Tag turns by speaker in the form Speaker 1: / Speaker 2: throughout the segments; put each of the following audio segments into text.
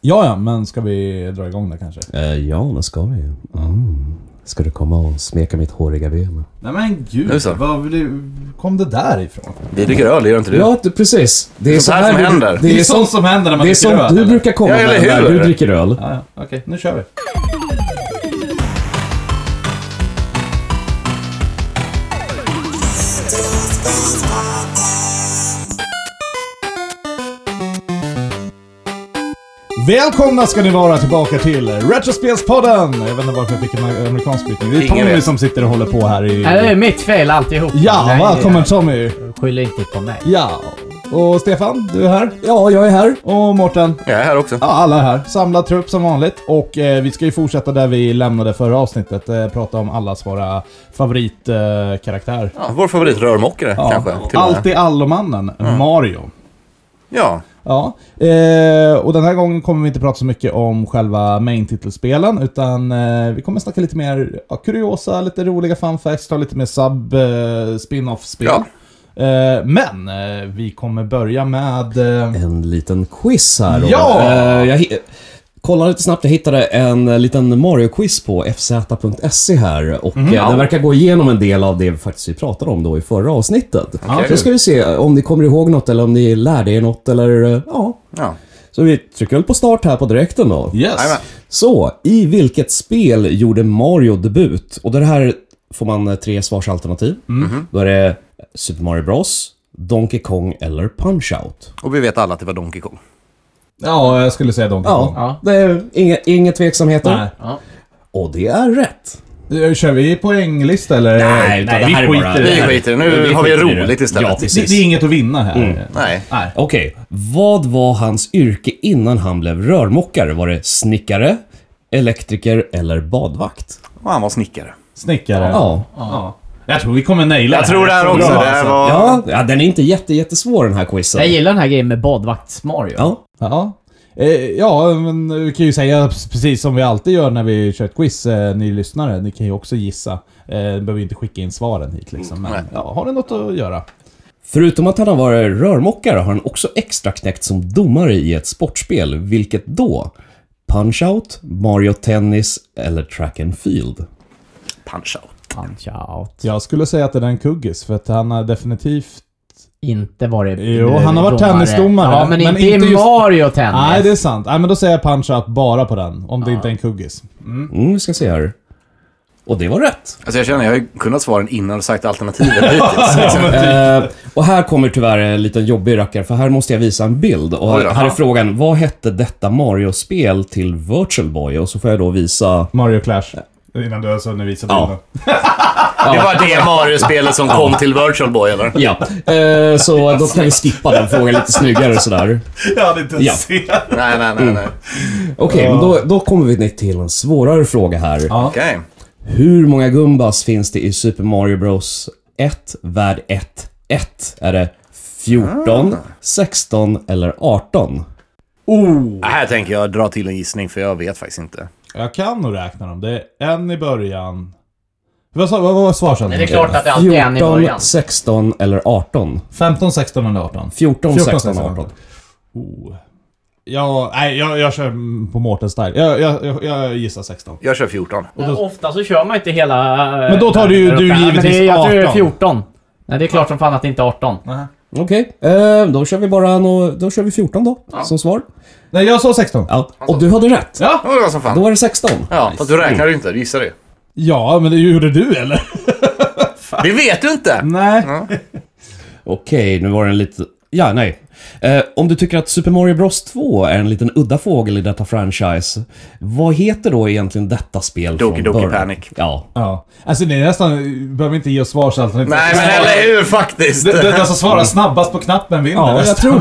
Speaker 1: Ja, ja, men ska vi dra igång det kanske?
Speaker 2: Eh, ja, det ska vi ju. Mm. Ska du komma och smeka mitt håriga ben?
Speaker 1: Nej men
Speaker 3: Nu
Speaker 1: gud,
Speaker 3: så.
Speaker 1: var det- kom det där ifrån?
Speaker 3: Vi dricker öl, gör inte du?
Speaker 2: Ja, det, precis. Det är
Speaker 3: Sånt här som
Speaker 2: du-
Speaker 3: händer.
Speaker 2: Det är
Speaker 1: sånt
Speaker 2: sånt
Speaker 1: som händer när man
Speaker 2: det är
Speaker 1: dricker
Speaker 2: sånt
Speaker 1: öl,
Speaker 2: du
Speaker 1: eller?
Speaker 2: brukar komma
Speaker 3: Ja, eller
Speaker 2: med när
Speaker 3: hur?
Speaker 2: du dricker öl.
Speaker 1: Ja, ja, okej, nu kör vi. Välkomna ska ni vara tillbaka till Retrospelspodden! Jag vet inte varför jag fick en amerikansk brytning. Det är
Speaker 3: Ingen
Speaker 1: Tommy
Speaker 3: vet.
Speaker 1: som sitter och håller på här i...
Speaker 4: Nej, det är mitt fel alltihop.
Speaker 1: Ja,
Speaker 4: Nej,
Speaker 1: välkommen Tommy!
Speaker 4: Skyll inte på mig.
Speaker 1: Ja. Och Stefan, du är här.
Speaker 2: Ja, jag är här.
Speaker 1: Och Mårten.
Speaker 3: Jag är här också.
Speaker 1: Ja, alla är här. Samlad trupp som vanligt. Och eh, vi ska ju fortsätta där vi lämnade förra avsnittet. Eh, prata om allas våra favoritkaraktär. Eh, karaktär.
Speaker 3: Ja, vår favoritrörmokare
Speaker 1: Ja.
Speaker 3: kanske. Till och med.
Speaker 1: Alltid allomannen, Mario.
Speaker 3: Ja,
Speaker 1: Ja, eh, och den här gången kommer vi inte prata så mycket om själva main-titelspelen utan eh, vi kommer snacka lite mer ja, kuriosa, lite roliga fun facts, ta lite mer sub eh, spin-off spel.
Speaker 3: Ja.
Speaker 1: Eh, men eh, vi kommer börja med... Eh,
Speaker 2: En liten quiz här. Robert.
Speaker 1: Ja!
Speaker 2: Eh, jag hi- kollade lite snabbt, jag hittade en eh, liten Mario-quiz på fz.se här och eh, den verkar gå igenom en del av det vi faktiskt vi pratade om då i förra avsnittet.
Speaker 3: Okej.
Speaker 2: Så ska vi se om ni kommer ihåg något eller om ni lärde er något eller eh, ja.
Speaker 3: ja.
Speaker 2: Så vi trycker väl på start här på direkten då.
Speaker 1: yes!
Speaker 3: Jajamän.
Speaker 2: Så, i vilket spel gjorde Mario debut? Och det här får man eh, tre svarsalternativ. Då är det Super Mario Bros, Donkey Kong eller Punch-Out.
Speaker 3: Och vi vet alla att det var Donkey Kong.
Speaker 1: Ja, jag skulle säga Donkey Kong.
Speaker 2: Ja, det är inga, inga tveksamheter.
Speaker 1: Nej.
Speaker 2: Och det är rätt.
Speaker 1: Eh, Kör vi poänglista eller?
Speaker 2: utan det
Speaker 1: vi
Speaker 2: här är
Speaker 1: skiter
Speaker 2: bara-
Speaker 1: i det.
Speaker 3: Vi skiter i det. Nu har vi
Speaker 2: skiter i det.
Speaker 3: roligt
Speaker 2: Ja,
Speaker 3: istället.
Speaker 1: Det,
Speaker 2: precis.
Speaker 1: det är inget att vinna här.
Speaker 3: Nej.
Speaker 1: Nej.
Speaker 2: Okej, vad var hans yrke innan han blev rörmokare? Var det snickare, elektriker eller badvakt?
Speaker 3: Och han var snickare.
Speaker 1: Snickare.
Speaker 2: Ja.
Speaker 1: Ja. Jag tror vi kommer naila
Speaker 3: Jag tror det här också. Det
Speaker 1: Bra,
Speaker 3: här
Speaker 1: alltså.
Speaker 3: var...
Speaker 2: Ja, ja den är inte jätte, jättesvår den här quizen.
Speaker 4: Jag gillar den här grejen med badvakts-Mario.
Speaker 2: Ja.
Speaker 1: Ja. Eh, ja, men vi kan ju säga precis som vi alltid gör när vi kör ett quiz, eh, ni lyssnare, ni kan ju också gissa. Eh, ni behöver ju inte skicka in svaren hit liksom, men
Speaker 3: Mm. Nej.
Speaker 1: ja, har ni något att göra?
Speaker 2: Förutom att han har varit rörmokare har han också extra knäckt som domare i ett sportspel. Vilket då? Punch-Out, Mario Tennis eller Track and Field?
Speaker 3: Punch-out.
Speaker 4: Punch out.
Speaker 1: Jag skulle säga att det är en kuggis, för att han har definitivt...
Speaker 4: Inte varit
Speaker 1: Jo, han har varit
Speaker 4: domare.
Speaker 1: tennisdomare.
Speaker 4: Ja, men,
Speaker 1: Men
Speaker 4: inte,
Speaker 1: inte
Speaker 4: i
Speaker 1: just-
Speaker 4: Mario Tennis.
Speaker 1: Nej, det är sant. Nej, men då säger jag punch-out bara på den, om det inte är en kuggis.
Speaker 2: Mm, vi ska se här. Och det var rätt.
Speaker 3: Alltså jag känner, jag har ju kunnat svaren innan och sagt alternativen hittills. liksom.
Speaker 2: Eh, och här kommer tyvärr en liten jobbig rackare, för här måste jag visa en bild. Och
Speaker 3: Oj då.
Speaker 2: här är frågan, vad hette detta Mario-spel till Virtual Boy? Och så får jag då visa...
Speaker 1: Mario Clash. Innan du ens hunnit visa
Speaker 2: Ja.
Speaker 1: bilden.
Speaker 3: Det var det Mario-spelet som kom till Virtual Boy, eller?
Speaker 2: Ja, eh, så då kan vi skippa den frågan lite snyggare sådär.
Speaker 1: Jag hade inte
Speaker 2: Ja.
Speaker 1: sett.
Speaker 3: Nej, nej, nej. nej.
Speaker 2: Okej, men då, då kommer vi till en svårare fråga här.
Speaker 3: Okej.
Speaker 2: Hur många Gumbas finns det i Super Mario Bros 1, värld 1, 1? Är det
Speaker 3: Ah.
Speaker 2: 14, 16 eller 18?
Speaker 3: Det Här tänker jag dra till en gissning, för jag vet faktiskt inte.
Speaker 1: Jag kan nog räkna dem. Det är en i början. Vad sa- vad var svarsen?
Speaker 4: Men det är klart att det alltid är en i
Speaker 2: 14,
Speaker 4: början.
Speaker 2: 16 eller 18?
Speaker 1: 15, 16 eller 18?
Speaker 2: 14,
Speaker 1: 14,
Speaker 2: 16, 18.
Speaker 1: Oh. Ja, nej, jag, jag kör på Mårtens style. Jag, jag, jag, jag gissar 16.
Speaker 3: Jag kör 14.
Speaker 4: Men Ofta så kör man inte hela... eh,
Speaker 1: Men då tar du ju-
Speaker 4: där
Speaker 1: du
Speaker 4: uppe. Nej, men
Speaker 1: givetvis
Speaker 4: det är- Jag tror det
Speaker 1: 18.
Speaker 4: är 14. Nej, det är klart som fan att det inte är 18.
Speaker 2: Okej, eh, då kör vi bara nå- då kör vi 14 då, som svar.
Speaker 1: Nej, jag sa 16.
Speaker 2: Ja.
Speaker 4: Alltså.
Speaker 2: Och du hade rätt!
Speaker 1: Ja.
Speaker 3: Ja, det var som
Speaker 2: Då
Speaker 3: fan.
Speaker 2: var det 16.
Speaker 3: Ja, fast du räknar ju inte. Du gissar det.
Speaker 1: Ja, men det gjorde du eller?
Speaker 3: Det vet du inte!
Speaker 1: Nej.
Speaker 2: Okej, nu var den lite... Ja, nej. Eh, om du tycker att Super Mario Bros 2 är en liten udda fågel i detta franchise, vad heter då egentligen detta spel
Speaker 3: Doki
Speaker 2: från
Speaker 3: Doki
Speaker 2: början?
Speaker 3: Panic.
Speaker 2: Ja.
Speaker 1: Ja. Alltså ni är nästan, behöver inte ge oss svarsalternativ.
Speaker 3: Nej, men eller hur faktiskt!
Speaker 1: Det- det- Den som svarar snabbast på knappen vinner.
Speaker 2: Ja, jag
Speaker 1: nästan.
Speaker 2: tror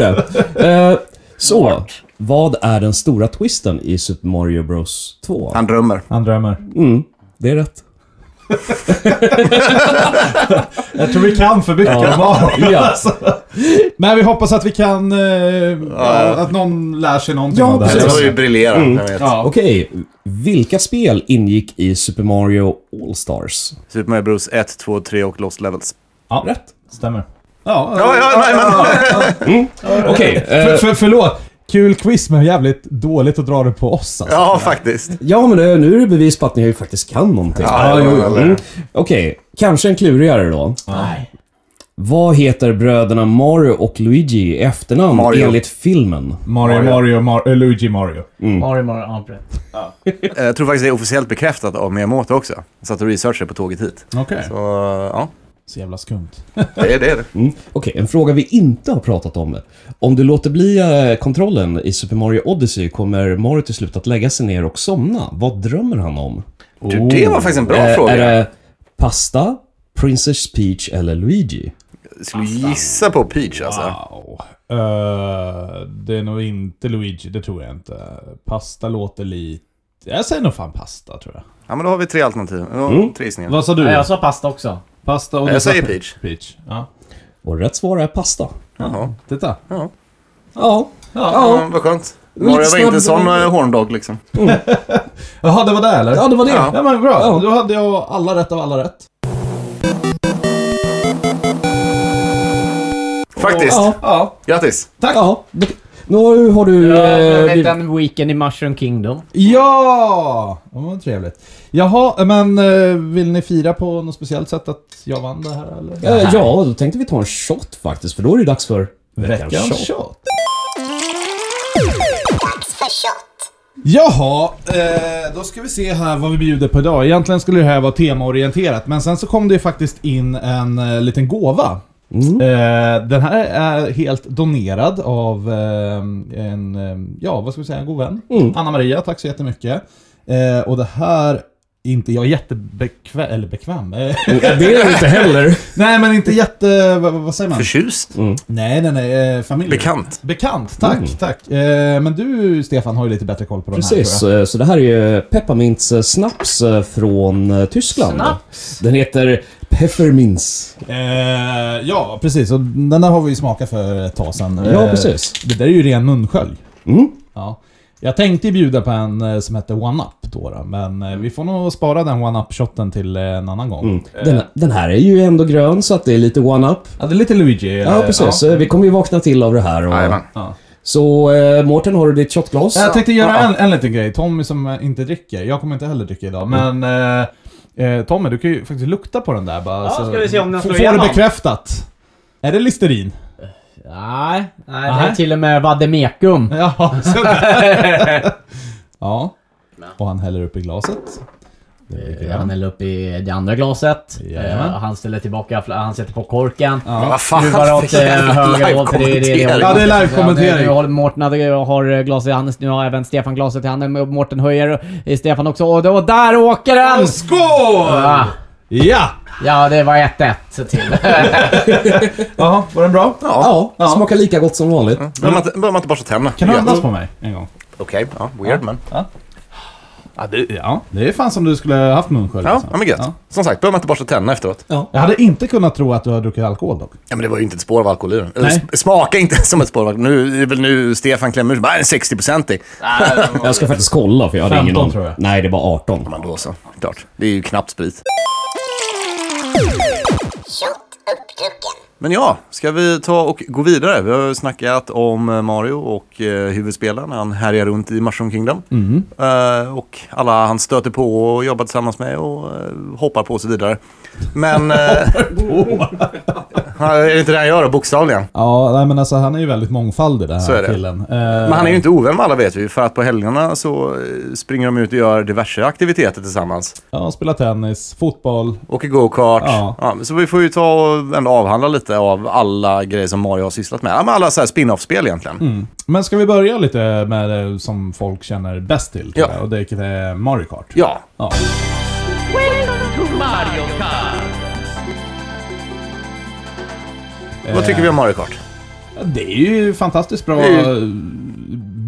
Speaker 2: det. Eh, så, vad är den stora twisten i Super Mario Bros 2?
Speaker 3: Han drömmer.
Speaker 1: Han drömmer.
Speaker 2: Mm, det är rätt.
Speaker 1: Jag tror vi kan för mycket om Mario.
Speaker 2: Ja.
Speaker 5: Alltså.
Speaker 1: Men vi hoppas att vi kan... Eh, ja, Att någon lär sig någonting
Speaker 2: Ja,
Speaker 1: av det här.
Speaker 3: Det
Speaker 2: precis.
Speaker 3: var ju briljerande,
Speaker 5: Mm.
Speaker 3: jag vet.
Speaker 1: Ja.
Speaker 2: Okej, vilka spel ingick i Super Mario All-Stars?
Speaker 3: Super Mario Bros 1, 2, 3 och Lost Levels.
Speaker 1: Ja.
Speaker 2: Rätt.
Speaker 1: Stämmer. Ja,
Speaker 3: Ja, ja, nej, men...
Speaker 2: Okej, eh,
Speaker 1: för, för, förlåt. Kul quiz, men jävligt dåligt att dra det på oss alltså.
Speaker 5: Ja, faktiskt.
Speaker 2: Ja, men eh, nu är det bevis på att ni faktiskt kan någonting.
Speaker 5: Ja, det var väl det.
Speaker 2: Mm. Okej, kanske en klurigare då.
Speaker 4: Nej.
Speaker 2: Vad heter bröderna Mario och Luigi i efternamn
Speaker 5: Mario.
Speaker 2: enligt filmen?
Speaker 1: Mario,
Speaker 5: Mario.
Speaker 1: Mario, Mar- eh, Luigi Mario. Mm.
Speaker 4: Mario, Mm. Mario, ja, brett.
Speaker 5: Eh, Jag tror faktiskt det är officiellt bekräftat av Miyamoto också. Jag satt och researchade på tåget hit.
Speaker 1: Okej.
Speaker 5: Så, ja.
Speaker 1: Så jävla skumt.
Speaker 5: Det är det. är det.
Speaker 2: Mm. Okej, en fråga vi inte har pratat om. Om du låter bli eh, kontrollen i Super Mario Odyssey kommer Mario till slut att lägga sig ner och somna. Vad drömmer han om?
Speaker 5: Du, det var faktiskt en bra
Speaker 2: Eh,
Speaker 5: fråga.
Speaker 2: Är det pasta, Princess Peach eller Luigi?
Speaker 5: Jag skulle gissa på Peach alltså.
Speaker 1: Wow. Eh, det är nog inte Luigi, det tror jag inte. Pasta låter lite... Jag säger nog fan pasta, tror jag.
Speaker 5: Ja, men då har vi tre alternativ. Ja,
Speaker 2: Mm.
Speaker 5: Tre gissningar.
Speaker 1: Vad sa du?
Speaker 4: Nej, jag sa pasta också.
Speaker 1: Pasta och...
Speaker 5: Jag
Speaker 1: du sa
Speaker 5: säger
Speaker 1: pe-
Speaker 5: Peach.
Speaker 1: Peach, ja.
Speaker 2: Och rätt svar är pasta.
Speaker 5: Jaha.
Speaker 1: Titta.
Speaker 2: Ja.
Speaker 5: Ja,
Speaker 2: Ja.
Speaker 5: vad skönt.
Speaker 2: Lite
Speaker 5: Mario var inte en
Speaker 2: snabb-
Speaker 5: sån eh, horndog liksom.
Speaker 1: Jaha, det var det eller?
Speaker 2: Ja, det var det.
Speaker 5: Ja.
Speaker 1: Ja men bra, då hade jag alla rätt av alla rätt.
Speaker 5: Faktiskt.
Speaker 2: Ja. ja.
Speaker 5: Grattis.
Speaker 2: Tack. Ja. det- Nu har du... eh,
Speaker 4: Uh,
Speaker 2: vi-
Speaker 4: en weekend i Mushroom Kingdom.
Speaker 1: Ja! Det var trevligt. Jaha, men eh, vill ni fira på något speciellt sätt att jag vann det här eller?
Speaker 2: Eh, Ja, då tänkte vi ta en shot faktiskt, för då är det dags för
Speaker 1: Veckans shot. Jaha, eh, då ska vi se här vad vi bjuder på idag. Egentligen skulle det här vara temaorienterat, men sen så kom det ju faktiskt in en eh, liten gåva. Eh, den här är helt donerad av eh, en, eh, ja vad ska vi säga, en god vän.
Speaker 2: Mm.
Speaker 1: Anna-Maria, tack så jättemycket. Eh, och det här, inte jag är jättebekväm, eller bekväm, eh,
Speaker 2: Det är det inte heller.
Speaker 1: nej men inte jätte, vad, vad säger man?
Speaker 5: Förtjust.
Speaker 1: Nej, nej, nej. Eh, familj.
Speaker 5: Bekant.
Speaker 1: Bekant, tack,
Speaker 2: Mm.
Speaker 1: tack. Eh, men du, Stefan, har ju lite bättre koll på de här
Speaker 2: Precis,
Speaker 1: tror
Speaker 2: eh, så det här är ju pepparmintssnaps eh, från eh, Tyskland.
Speaker 4: Snaps?
Speaker 2: Den heter Pfefferminz.
Speaker 1: jag. Eh, ja, precis. Och den där har vi ju smakat för ett tag sedan.
Speaker 2: Ja,
Speaker 1: Eh,
Speaker 2: precis.
Speaker 1: Det där är ju ren munskölj.
Speaker 2: Mm.
Speaker 1: Ja. Jag tänkte ju bjuda på en eh, som hette One Up då, då men eh, vi får nog spara den One Up-shotten till eh, en annan gång.
Speaker 2: mm. Den, den här är ju ändå grön, så att det är lite one-up.
Speaker 1: Ja, det är lite Luigi.
Speaker 2: Ja,
Speaker 1: eh,
Speaker 2: precis. Eh, Vi kommer ju vakna till av det här.
Speaker 5: Jajamän.
Speaker 2: Och...
Speaker 1: Ja.
Speaker 2: Så eh, Mårten, har du ditt shotglas?
Speaker 1: Jag tänkte göra en, en liten grej. Tommy som eh, inte dricker. Jag kommer inte heller dricka idag, men... Eh, eh, Tommy, du kan ju faktiskt lukta på den där bara.
Speaker 4: Ja, ska vi se om den
Speaker 1: Få-
Speaker 4: slår
Speaker 1: Får
Speaker 4: igenom.
Speaker 1: det bekräftat. Är det Listerin?
Speaker 4: Nej, nej, det
Speaker 1: Nej.
Speaker 4: är till och med vademekum.
Speaker 1: Ja, sådär. ja. Och han häller upp i glaset.
Speaker 4: Eh, Han häller upp i det andra glaset.
Speaker 1: Jajamän.
Speaker 4: Eh, Han ställer tillbaka, fla- han sätter på korken.
Speaker 5: Men Vad fan
Speaker 4: Skruvar åt eh, höger och åt. Det, det, det, det,
Speaker 5: live-kommentering.
Speaker 1: Ja, det är live-kommentering.
Speaker 4: Nu har Mårten har eh, glaset i handen. Nu har även Stefan glaset i handen. och Mårten höjer. Eh, Stefan också. Och då, där åker den!
Speaker 1: Alltså. Skål!
Speaker 4: Ah,
Speaker 1: Ja!
Speaker 4: Ja, det var 1-1 till.
Speaker 1: Jaha, var den bra?
Speaker 2: Ja, smakar lika gott som vanligt.
Speaker 5: Behöver man inte- behöver man inte borsta tänderna?
Speaker 1: Kan du
Speaker 5: Ja.
Speaker 1: andas på mig en gång?
Speaker 5: Okej, ja, weird men.
Speaker 1: Ja, det, ja. det är fan som du skulle ha haft munskölj.
Speaker 5: Ja,
Speaker 1: alltså.
Speaker 5: ja men gött.
Speaker 1: Ja.
Speaker 5: Som sagt, behöver man inte borsta tänderna efteråt.
Speaker 1: Jag hade inte kunnat tro att du hade druckit alkohol dock.
Speaker 5: Ja, men det var ju inte ett spår av alkohol i den. Eller,
Speaker 1: Nej.
Speaker 5: sm- Smaka inte som ett spår av alkohol. Nu är det väl nu Stefan klämmer ur sig. Bara, en 60-procentig.
Speaker 2: Jag ska faktiskt kolla, för jag hade ingen
Speaker 1: 15
Speaker 2: aning.
Speaker 1: tror jag.
Speaker 2: Nej, det var 18.
Speaker 5: Ja, men då så. Klart. Det är ju knappt sprit. Men ja, ska vi ta och gå vidare? Vi har ju snackat om eh, Mario och eh, huvudspelaren. Han härjar runt i Mushroom Kingdom. Eh, och alla han stöter på och jobbar tillsammans med och eh, hoppar på och så vidare. Men... hoppar på? är det inte det han gör då, bokstavligen?
Speaker 1: Ja, nej, men alltså han är ju väldigt mångfaldig den här
Speaker 5: Så är det.
Speaker 1: killen. Eh,
Speaker 5: Men han är ju inte ovän med alla vet vi, för att på helgerna så eh, springer de ut och gör diverse aktiviteter tillsammans.
Speaker 1: Ja, han spelar tennis, fotboll.
Speaker 5: Åker go-kart.
Speaker 1: Ja.
Speaker 5: Ja. så vi får ju ta och ändå avhandla lite av alla grejer som Mario har sysslat med. Ja, men alla så här spin-off-spel egentligen.
Speaker 1: Men ska vi börja lite med det som folk känner bäst till? tror
Speaker 5: Ja.
Speaker 1: jag, Och det är eh, Mario Kart.
Speaker 5: Ja,
Speaker 1: Ja.
Speaker 5: vad tycker vi om Mario Kart?
Speaker 1: Det är ju fantastiskt bra
Speaker 5: Det är
Speaker 1: eh,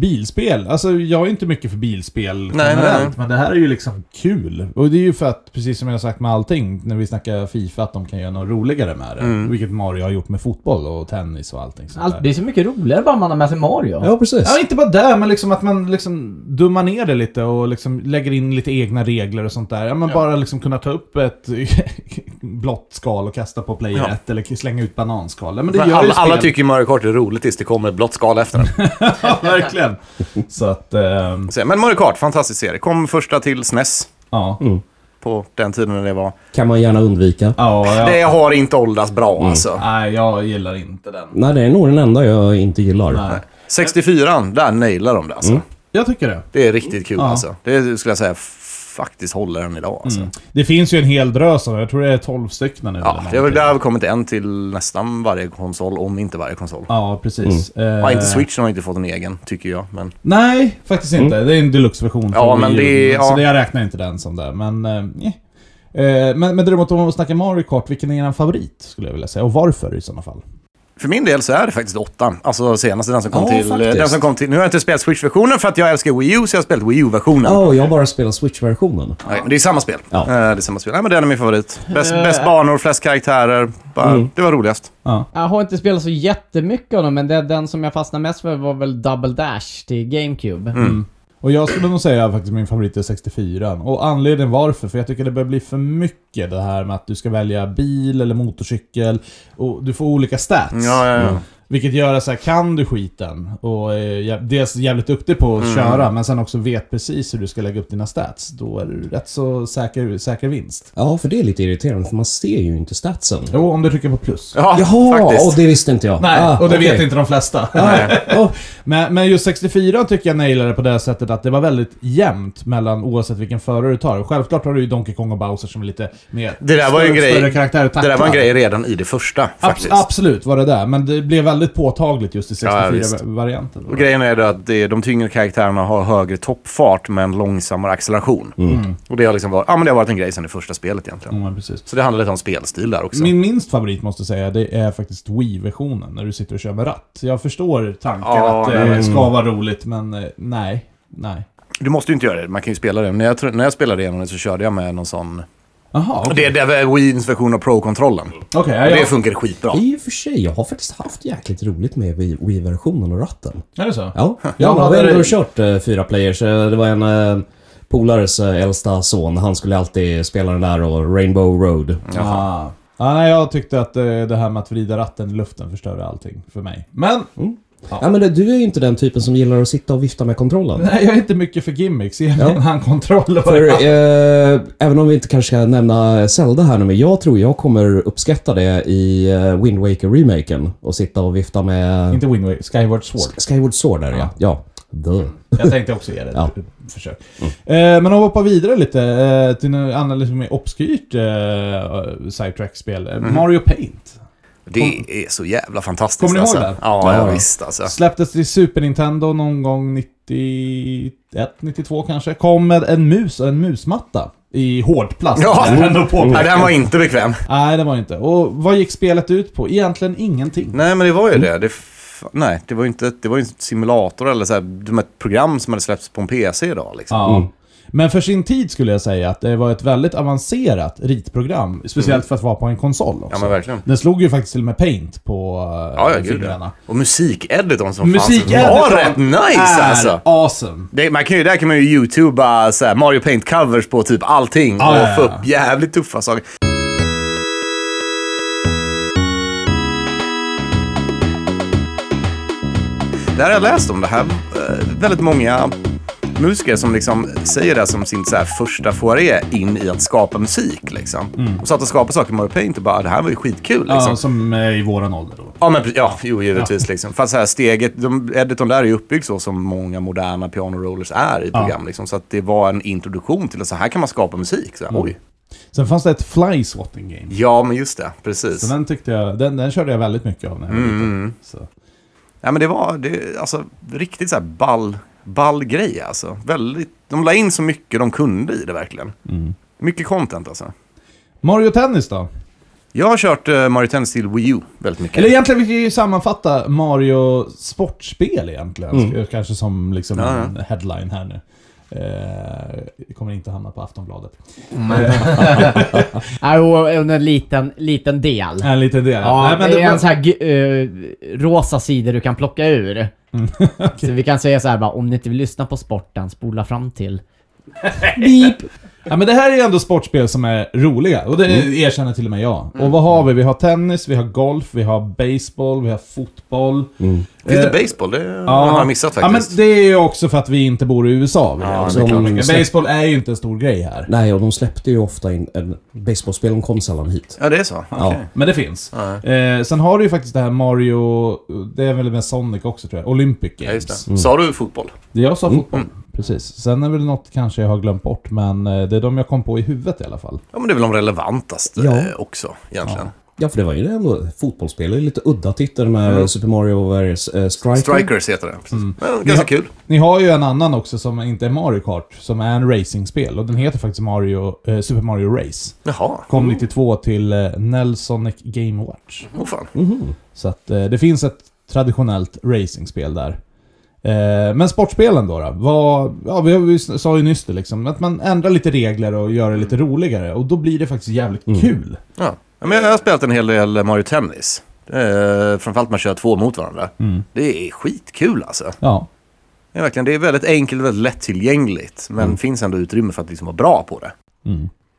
Speaker 1: bilspel. Alltså, jag är inte mycket för bilspel
Speaker 5: Nej,
Speaker 1: generellt,
Speaker 5: nej.
Speaker 1: men det här är ju liksom kul. Och det är ju för att, precis som jag har sagt med allting, när vi snackar Fifa, att de kan göra något roligare med det.
Speaker 5: Mm.
Speaker 1: Vilket Mario har gjort med fotboll och tennis och allting sånt
Speaker 4: Allt
Speaker 1: där.
Speaker 4: blir så mycket roligare bara man har med sig Mario.
Speaker 2: Ja, precis.
Speaker 1: Ja, inte bara det, men liksom att man liksom dummar ner det lite och liksom lägger in lite egna regler och sånt där. Ja, men bara liksom kunna ta upp ett blått skal och kasta på player
Speaker 5: Ja.
Speaker 1: 1 eller slänga ut bananskal. Ja, men det
Speaker 5: Men
Speaker 1: gör ju
Speaker 5: alla,
Speaker 1: spel.
Speaker 5: alla tycker ju Mario Kart är roligt tills det kommer ett blått skal efter den.
Speaker 1: Ja, verkligen. Så att, ehm,
Speaker 5: Så, Men Mario Kart, fantastisk serie. Kom första till SNES
Speaker 1: ja.
Speaker 5: Mm. på den tiden när det var.
Speaker 2: Kan man gärna undvika.
Speaker 1: Ja, Mm. jag,
Speaker 5: Det har inte åldrats bra alltså.
Speaker 1: Nej, jag gillar inte den.
Speaker 2: Nej, det är nog den enda jag inte gillar.
Speaker 1: Nej.
Speaker 5: 64an, där nailar de det alltså.
Speaker 1: Jag tycker det.
Speaker 5: Det är riktigt kul
Speaker 1: Ja.
Speaker 5: alltså. Det skulle jag säga faktiskt håller än idag alltså.
Speaker 2: Mm.
Speaker 1: Det finns ju en hel drös av det. Jag tror det är 12 stycken nu.
Speaker 5: Ja,
Speaker 1: eller
Speaker 5: det har väl
Speaker 1: någonting.
Speaker 5: där kommit en till nästan varje konsol, om inte varje konsol.
Speaker 1: Ja, precis. Eh,
Speaker 5: Mm. Ja, inte Switch har inte fått en egen, tycker jag. Men
Speaker 1: Nej, faktiskt inte. Det är en deluxe-version.
Speaker 5: Ja,
Speaker 1: från
Speaker 5: men
Speaker 1: Wii U,
Speaker 5: det- ja.
Speaker 1: Så det, jag räknar inte den som det. Men, eh, nej. Eh, men, men däremot om man snackar Mario Kart, vilken är er favorit? Skulle jag vilja säga. Och varför i sådana fall?
Speaker 5: för min del så är det faktiskt åttan. Alltså senaste, den som kom,
Speaker 2: Ja,
Speaker 5: till,
Speaker 2: faktiskt.
Speaker 5: den som kom till... Nu har jag inte spelat Switch-versionen för att jag älskar Wii U, så jag har spelat Wii U-versionen.
Speaker 2: Ja, jag bara spelar Switch-versionen.
Speaker 5: Nej, men det är samma spel.
Speaker 2: Ja.
Speaker 5: Eh, Det är samma spel. Nej, men den är min favorit. Bäst,
Speaker 4: Eh.
Speaker 5: bäst banor, flest karaktärer. Bara,
Speaker 2: Mm.
Speaker 5: Det var roligast.
Speaker 1: Ja.
Speaker 4: Jag har inte spelat så jättemycket av dem, men det, den som jag fastnade mest för var väl Double Dash till GameCube.
Speaker 1: Mm. Och jag skulle nog säga faktiskt min favorit är 64 Och anledningen varför, för jag tycker det börjar bli för mycket det här med att du ska välja bil eller motorcykel. Och du får olika stats.
Speaker 5: Ja, ja, ja.
Speaker 1: Vilket gör att så här, kan du skiten och är jä- dels jävligt duktig på
Speaker 5: Mm.
Speaker 1: att köra, men sen också vet precis hur du ska lägga upp dina stats. Då är du rätt så säker, säker vinst.
Speaker 2: Ja, för det är lite irriterande, för man ser ju inte statsen.
Speaker 1: Jo, om du trycker på plus.
Speaker 5: Ja,
Speaker 2: Jaha,
Speaker 5: faktiskt.
Speaker 2: och det visste inte jag.
Speaker 1: Nej,
Speaker 2: Ah,
Speaker 1: och det
Speaker 2: okej.
Speaker 1: vet inte de flesta.
Speaker 2: Ah,
Speaker 1: Oh. Men, men just 64 tycker jag nailade på det här sättet att det var väldigt jämnt mellan oavsett vilken förare du tar. Självklart har du ju Donkey Kong och Bowser som är lite mer
Speaker 5: Det där var ju en
Speaker 1: större-
Speaker 5: grej-
Speaker 1: större karaktär att
Speaker 5: Det där var en
Speaker 1: tackla.
Speaker 5: grej redan i det första,
Speaker 1: Abs-
Speaker 5: faktiskt.
Speaker 1: absolut var det där, men det blev väldigt påtagligt just i
Speaker 5: Ja, visst.
Speaker 1: 64-varianten.
Speaker 5: Och grejen är då att det, de tyngre karaktärerna har högre toppfart men långsammare acceleration.
Speaker 1: Mm.
Speaker 5: Och det har, liksom varit, ja, men det har varit en grej sedan det första spelet egentligen.
Speaker 1: ja, precis.
Speaker 5: Så det handlar lite om spelstil där också.
Speaker 1: Min minst favorit måste jag säga, det är faktiskt Wii-versionen, när du sitter och kör med ratt. Jag förstår tanken
Speaker 5: Ja,
Speaker 1: att
Speaker 5: nej,
Speaker 1: det
Speaker 5: men-
Speaker 1: ska vara roligt, men eh, nej. Nej.
Speaker 5: Du måste ju inte göra det, man kan ju spela det. När jag, tr- när jag spelade igenom det så körde jag med någon sån...
Speaker 1: Jaha, okej.
Speaker 5: Det, det var Wiens version av Pro-kontrollen.
Speaker 1: Okej, ja,
Speaker 5: Och
Speaker 1: ja.
Speaker 5: det funkar skitbra.
Speaker 2: I och för sig, jag har faktiskt haft jäkligt roligt med Wii- Wii-versionen och ratten.
Speaker 1: Är det så?
Speaker 2: Ja,
Speaker 1: Ja,
Speaker 2: jag har
Speaker 1: det är-
Speaker 2: väl ändå kört eh, fyra players. Eh, Det var en eh, polares eh, äldsta son. Han skulle alltid spela den där och Rainbow Road.
Speaker 1: Ah. Ja, nej, jag tyckte att eh, det här med att vrida ratten i luften förstörde allting för mig. Men,
Speaker 2: Ja, men det- du är ju inte den typen som gillar att sitta och vifta med kontrollen.
Speaker 1: nej, jag är inte mycket för gimmicks. Ge mig en handkontroll och
Speaker 2: För eh, även om vi inte kanske ska nämna Zelda här nu, men jag tror jag kommer uppskatta det i eh, Wind Waker-remaken. Och sitta och vifta med
Speaker 1: Inte Winway, Skyward Sword.
Speaker 2: Skyward Sword där ja. Ja. Duh.
Speaker 1: Jag tänkte också ge det ett
Speaker 2: Ja.
Speaker 1: försök. Eh, men om vi hoppar vidare lite eh, till något annat lite mer obskyrt eh, sidetrack-spel. Eh, Mario Paint.
Speaker 5: Det är så jävla fantastiskt.
Speaker 1: Kommer ni ihåg
Speaker 5: alltså.
Speaker 1: det?
Speaker 5: Ja, ja,
Speaker 2: Ja.
Speaker 5: visst alltså.
Speaker 1: Släpptes till Super Nintendo någon gång 91, 92 kanske. Kom med en mus och en musmatta. I hårdplast.
Speaker 5: Ja.
Speaker 1: Nintendo
Speaker 5: Nej,
Speaker 1: påpekar.
Speaker 5: den var inte bekväm.
Speaker 1: Nej, det var inte. Och vad gick spelet ut på? Egentligen ingenting.
Speaker 5: Nej, men det var ju det. det f- nej, det var ju inte det var ju en simulator eller så här, det var ett program som hade släppts på en PC idag. Liksom.
Speaker 1: Ja. Men för sin tid skulle jag säga att det var ett väldigt avancerat ritprogram. Speciellt för att vara på en konsol också.
Speaker 5: Mm. Ja, men verkligen.
Speaker 1: Den slog ju faktiskt till och med paint på eh,
Speaker 5: Ja, ja, gud ja.
Speaker 1: fingrarna.
Speaker 5: Och musikeditorn som
Speaker 1: Musiken
Speaker 5: fanns var rätt nice
Speaker 1: är
Speaker 5: alltså.
Speaker 1: awesome.
Speaker 5: Det, man kan ju, där kan man ju youtuba så här, Mario Paint-covers på typ allting
Speaker 1: Ja,
Speaker 5: och
Speaker 1: ja, ja.
Speaker 5: få upp jävligt tuffa saker. Det här har jag läst om. Det här eh, väldigt många musiker som liksom säger det som sin så här första foaré in i att skapa musik. Liksom. Och satt och skapade saker i Mario Paint och bara, det här var ju skitkul. Liksom.
Speaker 1: Mm. Ja, som är i våran ålder då.
Speaker 5: Ja, men pre- ja, jo, givetvis. Liksom. Fast så här, steget, de, editorn där är ju uppbyggd så som många moderna piano-rollers är i program. Liksom, så att det var en introduktion till att så här kan man skapa musik. Så här,
Speaker 1: Mm.
Speaker 5: Oj.
Speaker 1: Sen fanns det ett fly swatting game.
Speaker 5: Ja, men just det. Precis.
Speaker 1: Så den tyckte jag, den, den körde jag väldigt mycket av när jag var
Speaker 5: Mm,
Speaker 1: liten. Så.
Speaker 5: Ja, men det var det, alltså, riktigt så här ball, ball grej. Alltså. Väldigt, de la in så
Speaker 1: Mm.
Speaker 5: mycket de kunde i det verkligen. Mycket content alltså.
Speaker 1: Mario Tennis då?
Speaker 5: Jag har kört eh, Mario Tennis till Wii U väldigt mycket.
Speaker 1: Eller egentligen, vi kan ju sammanfatta Mario sportspel egentligen.
Speaker 2: Mm.
Speaker 1: Kanske som liksom
Speaker 5: Ja, ja.
Speaker 1: en headline här nu. Eh, det kommer inte hamna på Aftonbladet.
Speaker 4: Nej, Äh, och under en liten, liten del.
Speaker 1: En liten del.
Speaker 4: Ja,
Speaker 1: Nej, men
Speaker 4: det
Speaker 1: det
Speaker 4: är
Speaker 1: var-
Speaker 4: en sån här gu- eh, rosa sida du kan plocka ur.
Speaker 1: Mm.
Speaker 4: Så vi kan säga så här bara, om ni inte vill lyssna på sporten, spola fram till.
Speaker 1: Ja, men det här är ju ändå sportspel som är roliga, och det
Speaker 5: Mm.
Speaker 1: erkänner till och med jag. Och vad har vi? Vi har tennis, vi har golf, vi har baseball, vi har fotboll.
Speaker 4: Mm.
Speaker 5: Finns
Speaker 1: Eh,
Speaker 5: det baseball? Det har jag missat
Speaker 1: Ja, men
Speaker 5: faktiskt.
Speaker 1: det är ju också för att vi inte bor i USA. Vill jag
Speaker 5: Ja,
Speaker 1: också
Speaker 5: det är klart.
Speaker 1: påpeka. Baseball är ju inte en stor grej här.
Speaker 2: Nej, och de släppte ju ofta in... En, baseballspelaren kom sällan hit.
Speaker 5: Ja, det är så? Okej.
Speaker 2: Ja.
Speaker 1: Men det finns. Eh, sen har du ju faktiskt det här Mario... Det är väl med Sonic också tror jag. Olympic Games.
Speaker 5: Ja, just det. Sa du fotboll?
Speaker 1: Jag sa fotboll. Precis. Sen är väl något kanske jag har glömt bort, men eh, det är de jag kom på i huvudet i alla fall.
Speaker 5: Ja, men det är väl de relevantaste
Speaker 2: Ja.
Speaker 5: eh, också egentligen.
Speaker 2: Ja, för det var ju ändå fotbollsspel. Det är lite udda titel med Super Mario eh, Striker.
Speaker 5: Strikers heter det. Precis. Men, ganska
Speaker 1: Ja.
Speaker 5: kul.
Speaker 1: Ni har ju en annan också som inte är Mario Kart, som är en racingspel. Och den heter faktiskt Mario, eh, Super Mario Race.
Speaker 5: Jaha.
Speaker 1: Kom 92 till eh, Nelsonic Game Watch.
Speaker 5: Åh fan.
Speaker 1: Så att eh, det finns ett traditionellt racingspel där. Eh, men sportspelen då, då vad, ja, vi, vi sa ju nyss det liksom, att man ändrar lite regler och gör det lite roligare. Och då blir det faktiskt jävligt kul.
Speaker 5: Ja. Ja, men jag har spelat en hel del Mario Tennis. Eh, framförallt man kör två mot varandra. Det är skitkul alltså.
Speaker 1: Ja.
Speaker 5: Det är, verkligen, det är väldigt enkelt, väldigt lättillgängligt. Men finns ändå utrymme för att liksom vara bra på det.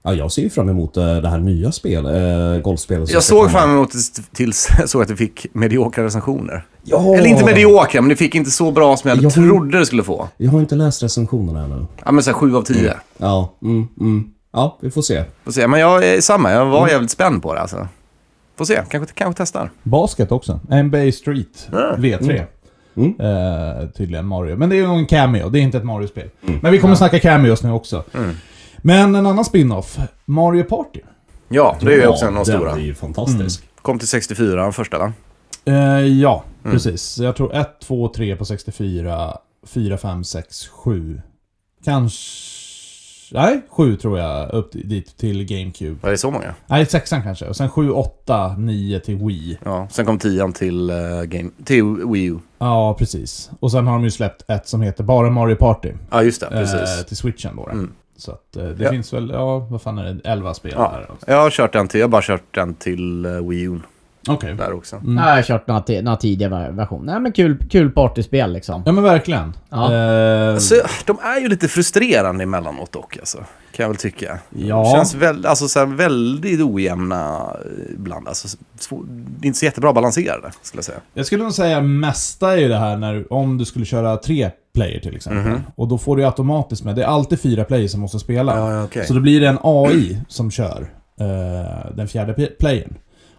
Speaker 2: Ja, jag ser ju fram emot eh, det här nya spel, eh, golfspelet. som
Speaker 5: Jag
Speaker 2: ska
Speaker 5: såg
Speaker 2: komma.
Speaker 5: fram emot det tills jag såg att det fick mediokra recensioner.
Speaker 2: Ja!
Speaker 5: Eller inte mediokra, men det fick inte så bra som jag,
Speaker 2: Jag-
Speaker 5: trodde det skulle få.
Speaker 2: Jag har inte läst recensionerna ännu.
Speaker 5: Ja, men så här, sju av tio.
Speaker 2: Ja, mm, mm. Ja, vi får se.
Speaker 5: Får se. Men jag är samma, jag var jävligt spänd på det alltså. Får se, kanske, kanske testar.
Speaker 1: Basket också. NBA Street V3. Eh, tydligen Mario. Men det är ju en cameo, det är inte ett Mario-spel. Men vi kommer snacka cameos nu också. Men en annan spin-off, Mario Party.
Speaker 5: Ja, det är ju
Speaker 2: Ja,
Speaker 5: också en av de stora. Mm.
Speaker 2: Den är ju fantastisk.
Speaker 5: Kom till 64, den första va?
Speaker 1: Eh, ja,
Speaker 5: Mm.
Speaker 1: precis. Jag tror 1, 2, 3 på 64, 4, 5, 6, 7. Kanske... Nej, 7 tror jag. Upp dit till GameCube.
Speaker 5: Var det så många?
Speaker 1: Nej, 6 kanske. Och sen 7, 8, 9 till Wii.
Speaker 5: Ja, sen kom tian till, eh, game, till Wii U.
Speaker 1: Ja, precis. Och sen har de ju släppt ett som heter bara Mario Party.
Speaker 5: Ja, just det.
Speaker 1: Eh,
Speaker 5: Precis.
Speaker 1: till switchen då.
Speaker 5: Mm.
Speaker 1: Så att eh, det
Speaker 5: Ja.
Speaker 1: finns väl, ja vad fan är det, 11 spel
Speaker 5: Ja.
Speaker 1: där också.
Speaker 5: Jag har kört den till, jag har bara kört den till eh, Wii U
Speaker 1: Okej.
Speaker 5: där också.
Speaker 2: Mm.
Speaker 1: Mm.
Speaker 4: Ja, jag har kört några, ti- några tidiga ver- versioner. Nej men kul, kul partyspel liksom.
Speaker 1: Ja men verkligen.
Speaker 4: Ja.
Speaker 1: Eh,
Speaker 5: Alltså, de är ju lite frustrerande emellanåt dock, alltså, kan jag väl tycka.
Speaker 1: Ja.
Speaker 5: De känns väl, alltså, så här, väldigt ojämna eh, ibland. Alltså, svår, inte så jättebra balanserade, skulle jag säga.
Speaker 1: jag skulle nog säga mesta är ju det här när, om du skulle köra tre player till exempel.
Speaker 5: Mhm.
Speaker 1: Och då får du ju automatiskt med, det är alltid fyra player som måste spela.
Speaker 5: Ja, ja, okej.
Speaker 1: Så då blir det en AI som kör eh, den fjärde pe- playern.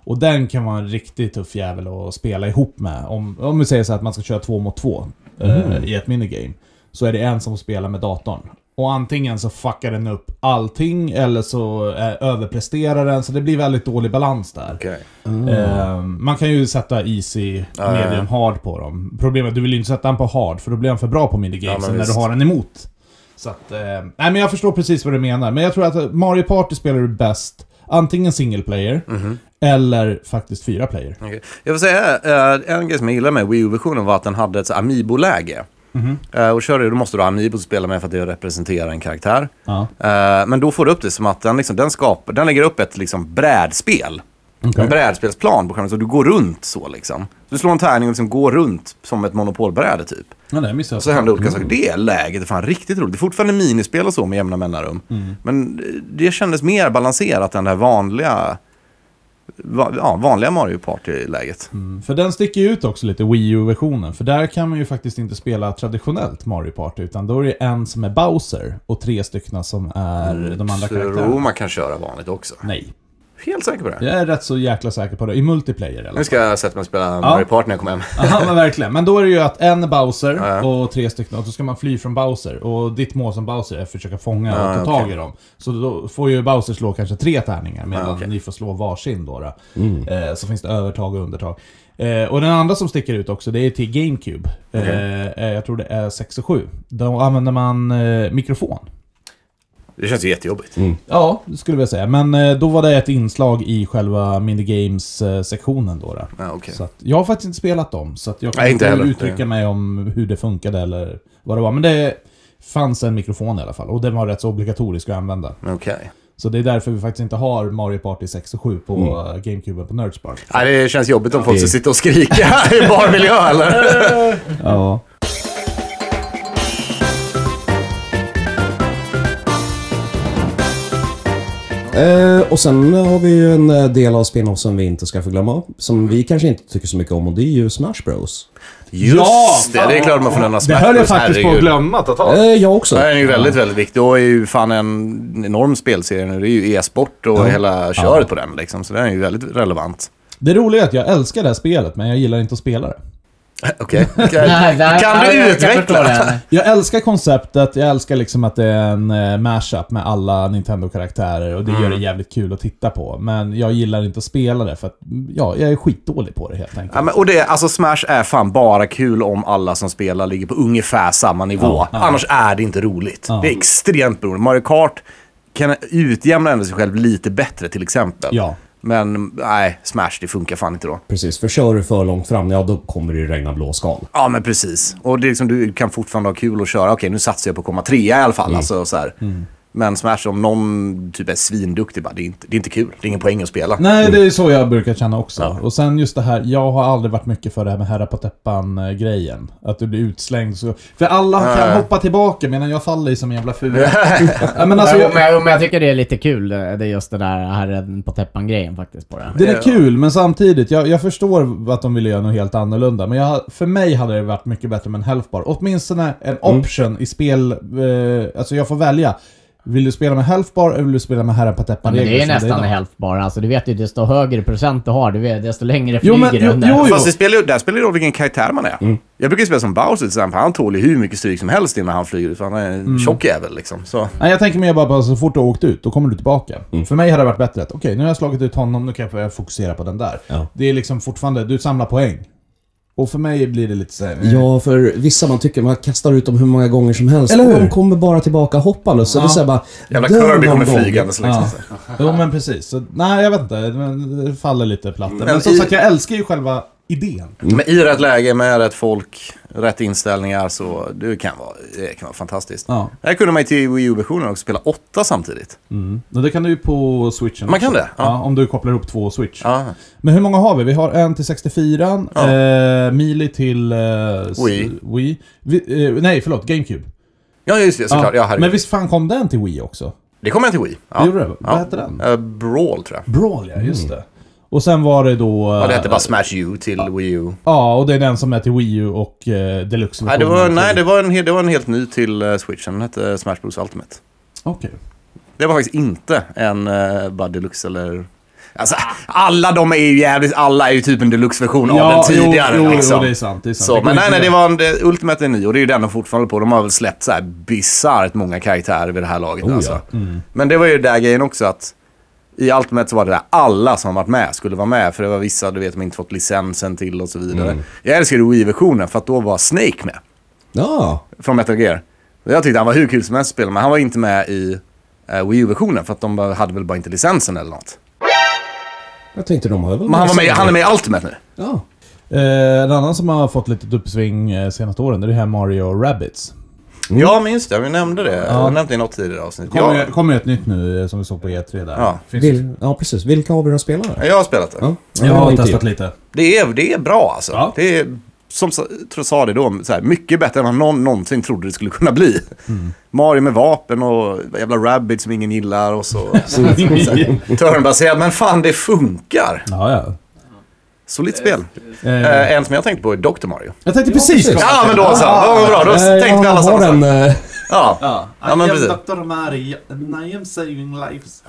Speaker 1: Och den kan vara en riktigt tuff jävel att spela ihop med. Om, om vi säger så här att man ska köra två mot två eh,
Speaker 5: Mhm.
Speaker 1: i ett minigame. Så är det en som spelar med datorn. Och antingen så fuckar den upp allting eller så eh, överpresterar den. Så det blir väldigt dålig balans där.
Speaker 5: Okej.
Speaker 1: Eh, man kan ju sätta easy,
Speaker 5: ja, ja.
Speaker 1: medium, hard på dem. Problemet är att du vill ju inte sätta den på hard för då blir han för bra på
Speaker 5: Ja,
Speaker 1: minigamesen
Speaker 5: men
Speaker 1: när du
Speaker 5: visst.
Speaker 1: har den emot. Så att, eh, nej men jag förstår precis vad du menar. Men jag tror att Mario Party spelar du bäst antingen single player
Speaker 5: Mhm.
Speaker 1: eller faktiskt fyra player.
Speaker 5: Okej. Jag vill säga, eh, en grej som jag gillade med Wii U-versionen var att den hade ett så här Amiibo-läge. Eh, Och kör du, då måste du ha Amiibo att spela med för att det representerar en karaktär.
Speaker 1: Ja.
Speaker 5: Eh, Men då får du upp det som att den, liksom, den, skapar, den lägger upp ett liksom, brädspel. En brädspelsplan på skärmen, så du går runt så liksom. Du slår en tärning och liksom går runt som ett monopolbräde typ.
Speaker 1: Ja, det missade jag.
Speaker 5: Så händer olika saker. Det läget är fan riktigt roligt. Det är fortfarande minispel och så med jämna mellanrum.
Speaker 1: Mm.
Speaker 5: Men eh, det kändes mer balanserat än det här vanliga, va, ja, vanliga Mario Party-läget.
Speaker 1: Mm, För den sticker ju ut också lite, Wii U-versionen. För där kan man ju faktiskt inte spela traditionellt Mario Party, utan då är det en som är Bowser och tre stycken som är de andra Mm.
Speaker 5: tror
Speaker 1: karaktärerna.
Speaker 5: man kan köra vanligt också.
Speaker 1: Nej,
Speaker 5: Helt säker på det.
Speaker 1: jag är rätt så jäkla säker på det. I multiplayer eller?
Speaker 5: Nu ska jag sätta mig och spela Mario Party när jag kommer hem.
Speaker 1: Ja men verkligen. Men då är det ju att en är Bowser
Speaker 5: Ja, ja.
Speaker 1: och tre stycken, och så ska man fly från Bowser. Och ditt mål som Bowser är att försöka fånga
Speaker 5: Ja,
Speaker 1: och ta
Speaker 5: ja,
Speaker 1: tag
Speaker 5: okej.
Speaker 1: i dem. Så då får ju Bowser slå kanske tre tärningar medan
Speaker 5: okej.
Speaker 1: ni får slå varsin då. då. Eh, så finns det övertag och undertag. Eh, och den andra som sticker ut också, det är till GameCube. Eh, eh, jag tror det är 6 och 7. Då använder man eh, mikrofon.
Speaker 5: Det känns ju jättejobbigt.
Speaker 1: Ja, det skulle jag säga. Men eh, då var det ett inslag i själva minigames-sektionen då. då.
Speaker 5: Ja, okej.
Speaker 1: Så att, jag har faktiskt inte spelat dem, så att jag kan
Speaker 5: Nej, inte
Speaker 1: inte
Speaker 5: heller.
Speaker 1: uttrycka mig om hur det funkade eller vad det var. Men det fanns en mikrofon i alla fall, och den var rätt så obligatorisk att använda.
Speaker 5: Okej.
Speaker 1: Så det är därför vi faktiskt inte har Mario Party 6 och 7 på mm. GameCube på Nerdspar.
Speaker 5: Nej, det känns jobbigt om folk ska
Speaker 2: Det-
Speaker 5: sitta och skrika i barmiljö eller?
Speaker 1: Ja.
Speaker 2: Eh, och sen har vi ju en eh, del av spin-off som vi inte ska få glömma. Som vi kanske inte tycker så mycket om och det är ju Smash Bros.
Speaker 5: Just
Speaker 1: Ja,
Speaker 5: det, det är klart man får nämna
Speaker 1: Det
Speaker 5: Smash
Speaker 1: höll jag
Speaker 5: Bros,
Speaker 1: faktiskt på att
Speaker 5: herregud.
Speaker 1: glömma totalt.
Speaker 2: Eh, jag också.
Speaker 5: Ja, Den är ju väldigt, väldigt viktig och är ju fan en enorm spelserie nu. Det är ju e-sport och hela köret på den liksom. Så den är ju väldigt relevant.
Speaker 1: Det roliga är att jag älskar det här spelet, men jag gillar inte att spela det.
Speaker 5: Okej.
Speaker 4: Nej, där-
Speaker 5: Kan
Speaker 4: jag
Speaker 5: du
Speaker 4: förstå
Speaker 5: utveckla?
Speaker 4: det.
Speaker 1: Jag älskar konceptet, jag älskar liksom att det är en eh, mashup med alla Nintendo-karaktärer och det
Speaker 5: Mm.
Speaker 1: gör det jävligt kul att titta på. Men jag gillar inte att spela det för att, ja, jag är skitdålig på det helt enkelt.
Speaker 5: Ja, men, och det, alltså Smash är fan bara kul om alla som spelar ligger på ungefär samma nivå. Annars är det inte roligt. Det är extremt beroende. Mario Kart kan utjämna ändå sig själv lite bättre till exempel.
Speaker 1: Ja.
Speaker 5: Men nej, Smash det funkar fan inte då.
Speaker 2: Precis, för kör du för långt fram, ja då kommer det ju regna blåskal.
Speaker 5: Ja, men precis. Och det är liksom, du kan fortfarande ha kul och köra. Okej, nu satsar jag på att komma trea i alla fall. Alltså, så här. Men Smash, om någon typ är svinduktig, bara, det, är inte, det är inte kul. Det är ingen poäng att spela.
Speaker 1: Nej, det är så jag brukar känna också. Och sen just det här, jag har aldrig varit mycket för det här med herra på täppan-grejen. Att du blir utslängd så... För alla kan hoppa tillbaka medan jag faller i som en jävla fura. ja, men alltså,
Speaker 4: Alltså,
Speaker 1: jag,
Speaker 4: men, jag, men jag tycker det är lite kul, det är just det där herren på täppan-grejen faktiskt på det.
Speaker 1: Den är kul, men samtidigt, jag, jag förstår att de vill göra något helt annorlunda. Men jag, för mig hade det varit mycket bättre med en health bar. Åtminstone en option i spel, eh, alltså jag får välja. Vill du spela med health bar eller vill du spela med herren på
Speaker 4: Ja,
Speaker 1: täppan?
Speaker 4: men det är ju nästan
Speaker 1: idag.
Speaker 4: hälft bara. Alltså, du vet ju, desto högre procent du har, du vet, desto längre
Speaker 1: Jo, men-
Speaker 4: flyger
Speaker 1: jo,
Speaker 4: den där.
Speaker 1: jo, jo.
Speaker 5: Fast det spelar, ju- där spelar det roll vilken karaktär man är. Jag brukar ju spela som Bowser till exempel. Han tål ju hur mycket stryk som helst innan han flyger ut. för Han är en tjock jävel liksom. Så.
Speaker 1: Nej, jag tänker mer bara på att så fort du har åkt ut, då kommer du tillbaka.
Speaker 5: Mm.
Speaker 1: För mig hade det varit bättre att okej, nu har jag slagit ut honom, nu kan jag börja fokusera på den där.
Speaker 2: Ja.
Speaker 1: Det är liksom fortfarande, du samlar poäng. Och för mig blir det lite eh, såhär...
Speaker 2: Ja, för vissa man tycker man kastar ut dem hur många gånger som helst.
Speaker 1: Eller hur?
Speaker 2: Och de kommer bara tillbaka hoppandes. Så det är så här bara...
Speaker 5: Jävla
Speaker 2: dör
Speaker 5: Kirby
Speaker 2: någon
Speaker 5: kommer
Speaker 2: gång.
Speaker 5: flygandes liksom.
Speaker 1: Ja. Jo men precis. Så, nej jag vet inte, Men det faller lite platt. Men,
Speaker 5: Mm. Men
Speaker 1: som
Speaker 5: i-
Speaker 1: sagt, jag älskar ju själva idén.
Speaker 5: Men i rätt läge, med rätt folk, rätt inställningar så det kan vara, det kan vara fantastiskt.
Speaker 1: Ja.
Speaker 5: Här kunde man ju till Wii U-versionen också spela åtta samtidigt.
Speaker 1: Men det kan du ju på switchen
Speaker 5: Man kan
Speaker 1: också.
Speaker 5: det?
Speaker 1: Ja.
Speaker 5: Ja.
Speaker 1: om du kopplar ihop två switch.
Speaker 5: Ja.
Speaker 1: Men hur många har vi? Vi har en till 64,
Speaker 5: Ja.
Speaker 1: eh, Mili till... Eh, s-
Speaker 5: Wii.
Speaker 1: Wii. Vi, eh, nej, förlåt, GameCube.
Speaker 5: ja, just det. Såklart. Ja. herregud.
Speaker 1: Men visst fan kom den till Wii också?
Speaker 5: Det kommer jag till Wii. Ja.
Speaker 1: Det gjorde det? Vad
Speaker 5: Ja.
Speaker 1: hette den?
Speaker 5: Eh, Brawl tror jag.
Speaker 1: Brawl ja, just det. Och sen var det då...
Speaker 5: Ja, det hette
Speaker 1: eh,
Speaker 5: bara Smash U till Wii U.
Speaker 1: Ja, och det är den som är till Wii U och eh, deluxe
Speaker 5: Nej, det var, nej det, var en, hel- det var en helt ny till eh, Switch. Den hette Smash Bros Ultimate.
Speaker 1: Okej.
Speaker 5: Det var faktiskt inte en uh, bara deluxe eller... Alltså, alla de är ju jävligt... Alla är ju typ en deluxe-version av den tidigare.
Speaker 1: jo, jo,
Speaker 5: liksom.
Speaker 1: jo, det är sant. Det är sant.
Speaker 5: Så,
Speaker 1: Jag kommer
Speaker 5: men nej,
Speaker 1: inte
Speaker 5: nej, det
Speaker 1: ihåg.
Speaker 5: var en, det, Ultimate är ny och det är ju den de fortfarande håller på. De har väl släppt så här bisarrt många karaktärer vid det här laget.
Speaker 2: ja.
Speaker 5: alltså. Men det var ju där grejen också att i Ultimate så var det där alla som varit med skulle vara med. För det var vissa, du vet, som inte fått licensen till och så vidare. Jag älskade Wii-versionen för att då var Snake med
Speaker 2: Ja.
Speaker 5: från Metal Gear. Jag tyckte han var hur kul som helst att spela, men han var inte med i eh, Wii U-versionen för att de bara- hade väl bara inte licensen eller något.
Speaker 2: Jag tänkte de har väl...
Speaker 5: Men han, var med, han är med i Ultimate nu.
Speaker 2: Ja.
Speaker 1: Eh, en annan som har fått lite uppsving eh, senaste åren, det är det här Mario Rabbids.
Speaker 5: Ja, men just det. Vi nämnde det. Jag nämnde det i något tidigare avsnitt.
Speaker 1: Kommer
Speaker 5: Jag,
Speaker 1: ju- kommer ju ett nytt nu eh, som vi såg på E3 där.
Speaker 5: Ja.
Speaker 1: Finns det?
Speaker 2: Vil, ja, precis. Vilka av er har spelat det?
Speaker 5: jag har spelat det.
Speaker 2: Ja. Ja, typ.
Speaker 1: Jag har
Speaker 2: inte
Speaker 1: testat
Speaker 2: jag.
Speaker 1: lite.
Speaker 5: Det, är, det är bra alltså.
Speaker 1: Ja.
Speaker 5: Det är, som sa- tror jag sa det då, så här, mycket bättre än vad någon någonsin trodde det skulle kunna bli. Mario med vapen och jävla rabbit som ingen gillar och så turnbaserat. Men fan, det funkar.
Speaker 1: ja, ja.
Speaker 5: Solitt spel.
Speaker 1: Eh,
Speaker 5: Eh, en som jag tänkte på är Dr. Mario.
Speaker 1: jag tänkte precis komma
Speaker 5: Ja,
Speaker 1: till
Speaker 5: men
Speaker 1: det.
Speaker 5: då så. Ja, men bra. Då
Speaker 2: Eh,
Speaker 5: tänkte vi alla
Speaker 2: har
Speaker 5: samma sak.
Speaker 2: den, eh,
Speaker 5: Ja. ja. men precis.
Speaker 1: Dr. Mario, and I am saving lives.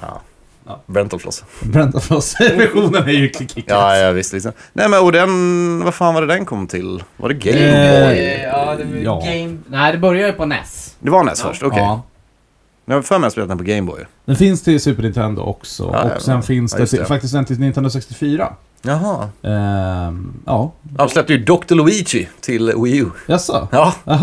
Speaker 5: Brentalfloss.
Speaker 1: Brända Floss-versionen är ju klick
Speaker 5: Ja, ja, visst. Liksom. Nej, men och den... Vad fan var det den kom till? Var det Game
Speaker 1: Eh,
Speaker 5: Boy?
Speaker 4: Ja, det var
Speaker 1: Ja.
Speaker 4: game... Nej, det börjar ju på E NES.
Speaker 5: Det var NES först? Okej.
Speaker 1: Ja.
Speaker 5: Jag har för mig att jag spelat den på Game Boy.
Speaker 1: Den finns till Super Nintendo också.
Speaker 5: Ja, ja,
Speaker 1: och sen
Speaker 5: ja.
Speaker 1: finns
Speaker 5: Ja,
Speaker 1: det,
Speaker 5: just
Speaker 1: till,
Speaker 5: det.
Speaker 1: faktiskt en till Nintendo 64.
Speaker 5: Jaha.
Speaker 1: Ehm, ja.
Speaker 5: De släppte ju Dr. Luigi till Wii U.
Speaker 1: Jaså?
Speaker 5: Ja. Där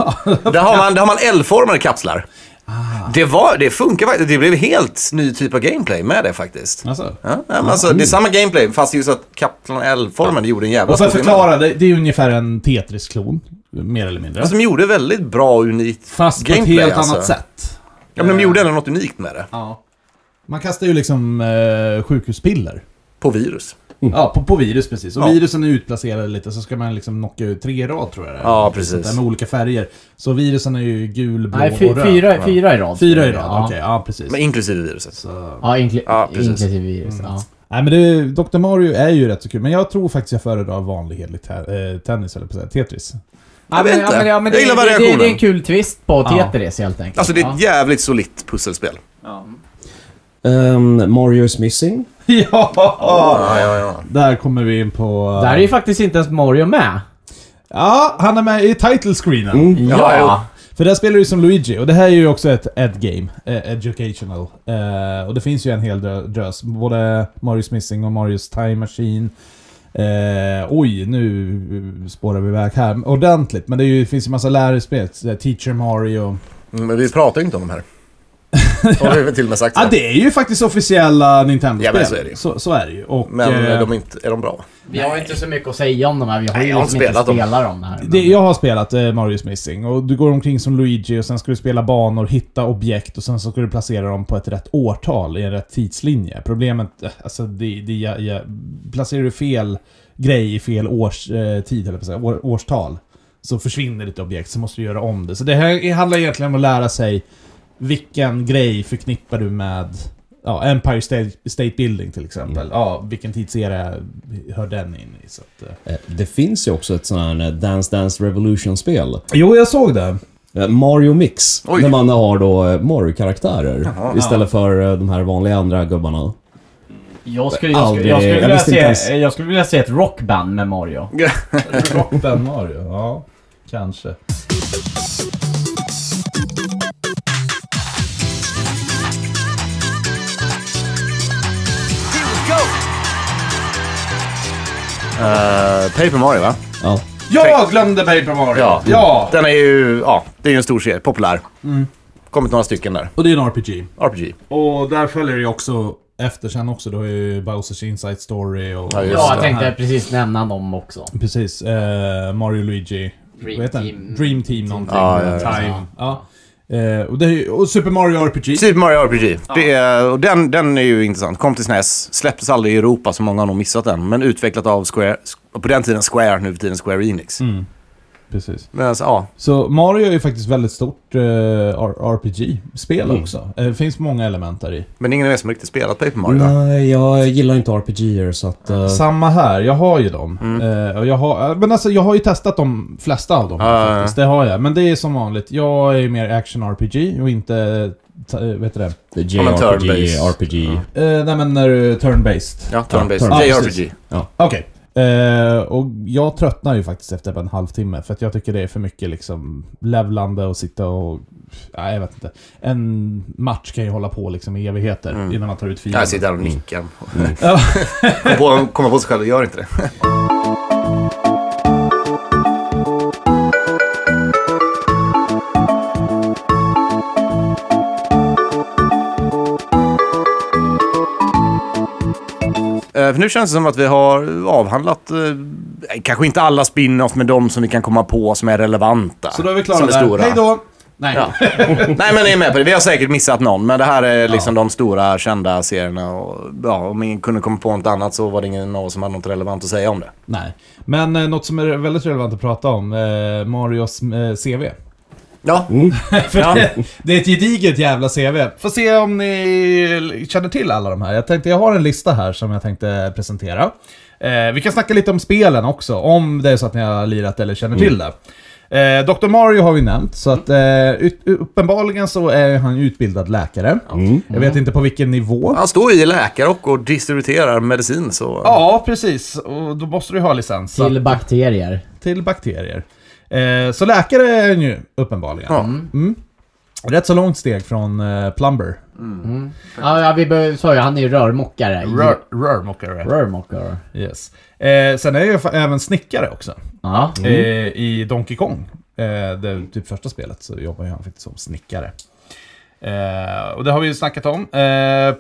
Speaker 5: har man, där har man L-formade kapslar.
Speaker 1: Ah.
Speaker 5: Det, var, det funkar faktiskt. Det blev helt ny typ av gameplay med det faktiskt.
Speaker 1: Alltså.
Speaker 5: Ja, ja, men alltså, det är samma gameplay, fast just att Kaplan L-formen gjorde en jävla
Speaker 1: Och för att
Speaker 5: stor skillnad.
Speaker 1: förklara, det, det är ju ungefär en Tetris-klon, mer eller mindre.
Speaker 5: Ja, Som Alltså, gjorde väldigt bra och unikt
Speaker 1: Fast på ett
Speaker 5: gameplay.
Speaker 1: helt
Speaker 5: alltså.
Speaker 1: annat sätt.
Speaker 5: Ja, men de gjorde ändå något unikt med det.
Speaker 1: Eh. Ja. Man kastar ju liksom eh, sjukhuspiller.
Speaker 5: På virus.
Speaker 1: Ja, på, på virus precis. Och
Speaker 5: Ja.
Speaker 1: virusen är utplacerade lite, så ska man liksom knocka ut tre rad tror jag det är.
Speaker 5: Ja,
Speaker 1: Något
Speaker 5: precis.
Speaker 1: sånt där Med olika färger. Så virusen är ju gul, blå
Speaker 4: Nej,
Speaker 1: och
Speaker 4: fy,
Speaker 1: röd.
Speaker 4: fyra, fyra i rad.
Speaker 1: Fyra i rad,
Speaker 4: Ja.
Speaker 1: okej. Ja, precis.
Speaker 5: Men inklusive viruset.
Speaker 1: Så...
Speaker 4: Ja, inkl-
Speaker 5: Ja, precis.
Speaker 4: inklusive virus. Ja.
Speaker 1: Nej, men det, Dr. Mario är ju rätt så kul, men jag tror faktiskt jag föredrar vanlig hederlig te- eh, tennis, eller på att säga, Tetris.
Speaker 5: Jag vet
Speaker 4: men-
Speaker 5: inte.
Speaker 4: men- men
Speaker 5: Jag
Speaker 4: det-
Speaker 5: gillar
Speaker 4: det-
Speaker 5: variationen.
Speaker 4: Det, det är en kul twist på
Speaker 1: Ja.
Speaker 4: Tetris helt enkelt.
Speaker 5: Alltså det är
Speaker 4: ja.
Speaker 5: ett jävligt solitt pusselspel.
Speaker 2: Ehm, Mario is missing.
Speaker 1: ja!
Speaker 5: Ja, ja, ja.
Speaker 1: Där kommer vi in på... eh,
Speaker 4: Där är ju faktiskt inte ens Mario med.
Speaker 1: Ja, han är med i title screenen.
Speaker 5: Ja,
Speaker 1: För där spelar du som Luigi, och det här är ju också ett Ed-game. Eh, educational. Eh, och det finns ju en hel drö- drös. Både Marius Missing och Marius Time Machine. Eh, oj, nu spårar vi iväg här ordentligt. Men det, är ju, det finns ju massa lärarspel. så där Teacher Mario.
Speaker 5: Mm, Men vi pratar ju inte om de här. Har vi väl till och med sagt.
Speaker 1: Ja, ah, det är ju faktiskt officiella
Speaker 5: Ja,
Speaker 1: Nintendo-spel.
Speaker 5: men så är det ju.
Speaker 1: så, så är det ju. Och,
Speaker 5: Men
Speaker 1: eh,
Speaker 5: är de inte, är de bra?
Speaker 4: Vi har ju inte så mycket att säga om de här. Vi har
Speaker 5: Nej,
Speaker 4: ju
Speaker 5: jag har
Speaker 4: liksom
Speaker 5: spelat
Speaker 4: inte
Speaker 5: dem.
Speaker 4: spelat dem här.
Speaker 1: Det, jag har spelat eh, Marius Missing och du går omkring som Luigi och sen ska du spela banor, hitta objekt och sen så ska du placera dem på ett rätt årtal i en rätt tidslinje. Problemet, eh, alltså det, det, jag, jag, placerar du fel grej i fel årstid, eh, tid, eller säga, år, årstal, så försvinner ditt objekt så måste du göra om det. Så det här handlar egentligen om att lära sig vilken grej förknippar du med Ja, Empire State, State Building till exempel. Ja, vilken tidsera hör den in i? Så att, eh.
Speaker 2: Eh, Det finns ju också ett sånt här eh, Dance Dance Revolution-spel.
Speaker 1: Jo, jag såg det.
Speaker 2: Eh, Mario Mix.
Speaker 5: Oj.
Speaker 2: När man har då eh, Mario-karaktärer. Istället för eh, de här vanliga andra gubbarna.
Speaker 4: Jag skulle, jag, skulle,
Speaker 2: Aldrig-
Speaker 4: jag, skulle
Speaker 2: jag
Speaker 4: vilja
Speaker 2: visste inte ens.
Speaker 4: se, jag skulle vilja se ett rockband med Mario.
Speaker 1: Kroppen Mario, ja. Kanske.
Speaker 5: Eh, Paper Mario va?
Speaker 2: Ja.
Speaker 1: Jag glömde Paper Mario!
Speaker 5: Ja.
Speaker 1: ja.
Speaker 5: Den är ju, ja, det är ju en stor serie. Populär. Kommit några stycken där.
Speaker 1: Och det är en RPG.
Speaker 5: RPG.
Speaker 1: Och där följer det ju också efter sen också. Du har ju Bowsers Inside Story och...
Speaker 5: Ja, just
Speaker 4: Ja, jag
Speaker 5: det.
Speaker 4: tänkte precis nämna dem också.
Speaker 1: Precis. Eh, Mario Luigi.
Speaker 4: Dream
Speaker 1: Vad heter den?
Speaker 4: Team.
Speaker 1: Dream Team någonting.
Speaker 5: Ja, ja, ja.
Speaker 1: Time. Ja. Eh, och, det är, ju- och Super Mario RPG.
Speaker 5: Super Mario RPG. Det är, och den, den är ju intressant. Kom till SNES. Släpptes aldrig i Europa, så många har nog missat den. Men utvecklat av Square, på den tiden Square, nu för tiden Square Enix.
Speaker 1: Precis.
Speaker 5: Men alltså, ja.
Speaker 1: Så Mario är ju faktiskt väldigt stort eh, R- RPG-spel
Speaker 5: Mm.
Speaker 1: också. Eh, Det finns många element där i.
Speaker 5: Men ingen av er som riktigt spelat Paper Mario va?
Speaker 2: Nej, jag gillar inte RPGer så att... eh,
Speaker 1: Samma här, jag har ju dem.
Speaker 5: Mm.
Speaker 1: Eh, och jag, har, eh, men alltså, jag har ju testat de flesta av dem
Speaker 5: Ja, ja,
Speaker 1: faktiskt. Det har jag. Men det är som vanligt. Jag är ju mer action-RPG och inte... ta- eh, Vad heter det?
Speaker 2: JRPG,
Speaker 5: turn-based.
Speaker 2: RPG.
Speaker 1: Eh, nej men när du... Turn-based.
Speaker 5: Ja, turn-based.
Speaker 2: turn-based.
Speaker 5: JRPG.
Speaker 1: Okej. Eh, och jag tröttnar ju faktiskt efter en halvtimme för att jag tycker det är för mycket liksom levlande och sitta och... Nej, jag vet inte. En match kan ju hålla på liksom i evigheter innan man tar ut fienden.
Speaker 5: Mm. Jag sitter där och nickar.
Speaker 1: Ja.
Speaker 5: Kom på- Kommer på sig själv, gör inte det. Eh, För nu känns det som att vi har avhandlat, eh, kanske inte alla spin-off, men de som vi kan komma på som är relevanta.
Speaker 1: Så då är vi
Speaker 5: som
Speaker 1: klara där. Hej då! Nej.
Speaker 5: Ja. Nej men ni är med på det. Vi har säkert missat någon. Men det här är liksom de stora kända serierna. Och, ja, om ingen kunde komma på något annat så var det ingen av oss som hade något relevant att säga om det.
Speaker 1: Nej. Men eh, något som är väldigt relevant att prata om, eh, Marios eh, CV.
Speaker 5: Ja.
Speaker 1: För det, det är ett gediget jävla CV. Får se om ni känner till alla de här. Jag tänkte, jag har en lista här som jag tänkte presentera. Eh, vi kan snacka lite om spelen också, om det är så att ni har lirat eller känner till det. Eh, Dr. Mario har vi nämnt, så att eh, ut, uppenbarligen så är han ju utbildad läkare. Jag vet inte på vilken nivå.
Speaker 5: Han står ju i läkare och, och distribuerar medicin så...
Speaker 1: Ja, precis. Och då måste du ju ha licens. så att-
Speaker 4: Till bakterier.
Speaker 1: till bakterier. Eh, så läkare är han ju uppenbarligen.
Speaker 5: Ja.
Speaker 1: Mm. Rätt så långt steg från eh, plumber.
Speaker 4: Ja, ja vi be- sa ju han är ju rörmokare.
Speaker 1: Rörmokare.
Speaker 4: Rörmokare.
Speaker 1: Yes. Eh, sen är jag ju fa- även snickare också.
Speaker 4: Ja.
Speaker 1: Eh, I Donkey Kong, eh, det typ första spelet, så jobbar ju han faktiskt som snickare. Eh, och det har vi ju snackat om. Eh,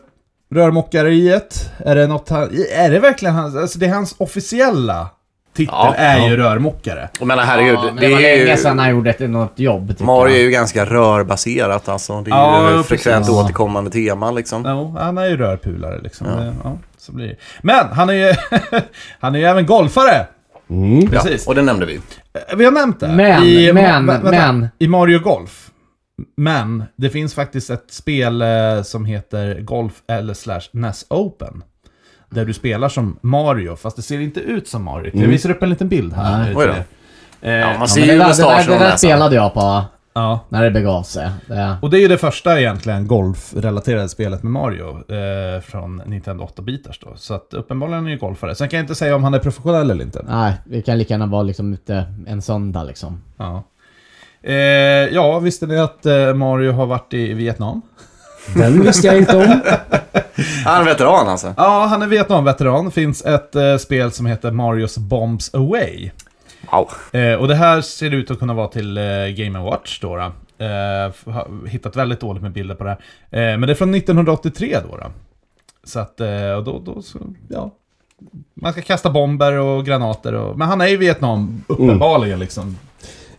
Speaker 1: rörmokariet, är det något han, Är det verkligen hans... Alltså det är hans officiella titel
Speaker 3: Ja,
Speaker 1: är ju rörmokare.
Speaker 3: Jag menar herregud,
Speaker 4: Ja, men det,
Speaker 3: det,
Speaker 4: var
Speaker 3: är
Speaker 4: länge
Speaker 3: ju...
Speaker 4: sedan han gjorde ett, något jobb. tycker
Speaker 5: Mario är
Speaker 4: jag.
Speaker 5: ju ganska rörbaserat alltså. Det är
Speaker 1: Ja,
Speaker 5: ju frekvent
Speaker 1: precis.
Speaker 5: återkommande tema liksom.
Speaker 1: Jo, han är ju rörpulare liksom. Det, ja, så blir det. Men han är ju, han är ju även golfare!
Speaker 3: Ja,
Speaker 1: Precis.
Speaker 3: och det nämnde vi.
Speaker 1: Eh, Vi har nämnt det.
Speaker 4: Men, men,
Speaker 1: vä- vänta.
Speaker 4: men.
Speaker 1: I Mario Golf. Men det finns faktiskt ett spel eh, som heter Golf eller slash NES Open. Där du spelar som Mario, fast det ser inte ut som Mario. Jag visar upp en liten bild här.
Speaker 3: Oj då.
Speaker 1: Eh,
Speaker 3: Ja, man
Speaker 1: ja,
Speaker 3: ser
Speaker 4: Det
Speaker 3: ju
Speaker 4: där, det där,
Speaker 3: mustaschen
Speaker 4: det
Speaker 3: och
Speaker 4: där
Speaker 3: näsan.
Speaker 4: spelade jag på
Speaker 1: ja.
Speaker 4: när det begav sig. Det,
Speaker 1: Och det är ju det första egentligen golfrelaterade spelet med Mario eh, från Nintendo 8-bitars då. Så att uppenbarligen är ju golfare. Sen kan jag inte säga om han är professionell eller inte.
Speaker 4: nej, vi kan lika gärna vara liksom ute en söndag liksom.
Speaker 1: Ja. Eh, ja, visste ni att eh, Mario har varit i Vietnam?
Speaker 2: Den visste jag inte om.
Speaker 5: Han är en veteran alltså.
Speaker 1: Ja, han är Vietnamveteran. Finns ett eh, spel som heter Marios Bombs Away.
Speaker 5: Wow.
Speaker 1: Eh, och det här ser ut att kunna vara till eh, Game Watch då. då. Eh, f- har hittat väldigt dåligt med bilder på det här. Eh, men det är från 1983 då. då. Så att, eh, och då, då så, ja. Man ska kasta bomber och granater och... Men han är i Vietnam, uppenbarligen liksom.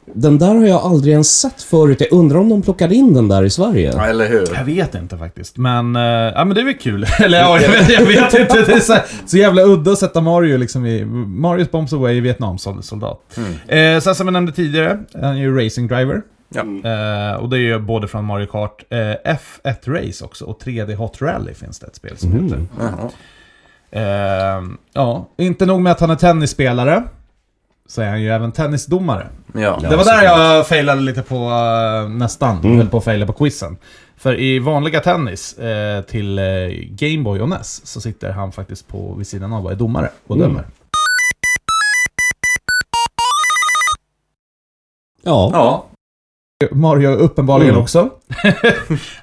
Speaker 2: Den där har jag aldrig ens sett förut. Jag undrar om de plockade in den där i Sverige.
Speaker 5: Ja, eller hur?
Speaker 1: Jag vet inte faktiskt, men... Eh, ja, men det är väl kul. Eller ja, jag vet, jag vet inte. Det är så, här, så jävla udda att sätta Mario liksom i... Marios Bombs Away i Vietnam som soldat. Eh, sen som jag nämnde tidigare, han är ju racing driver.
Speaker 5: Ja.
Speaker 1: Eh, och det är ju både från Mario Kart eh, F1 Race också och 3D Hot Rally finns det ett spel som heter.
Speaker 5: Jaha.
Speaker 1: Eh, ja, inte nog med att han är tennisspelare. Så är han ju även tennisdomare.
Speaker 5: Ja.
Speaker 1: det var där jag failade lite på, eh, nästan, höll på att faila på quizen. För i vanliga tennis eh, till eh, Gameboy och NES så sitter han faktiskt på, vid sidan av och är domare och dömer.
Speaker 2: Ja.
Speaker 5: Ja.
Speaker 1: Mario uppenbarligen
Speaker 2: Mm.
Speaker 1: också.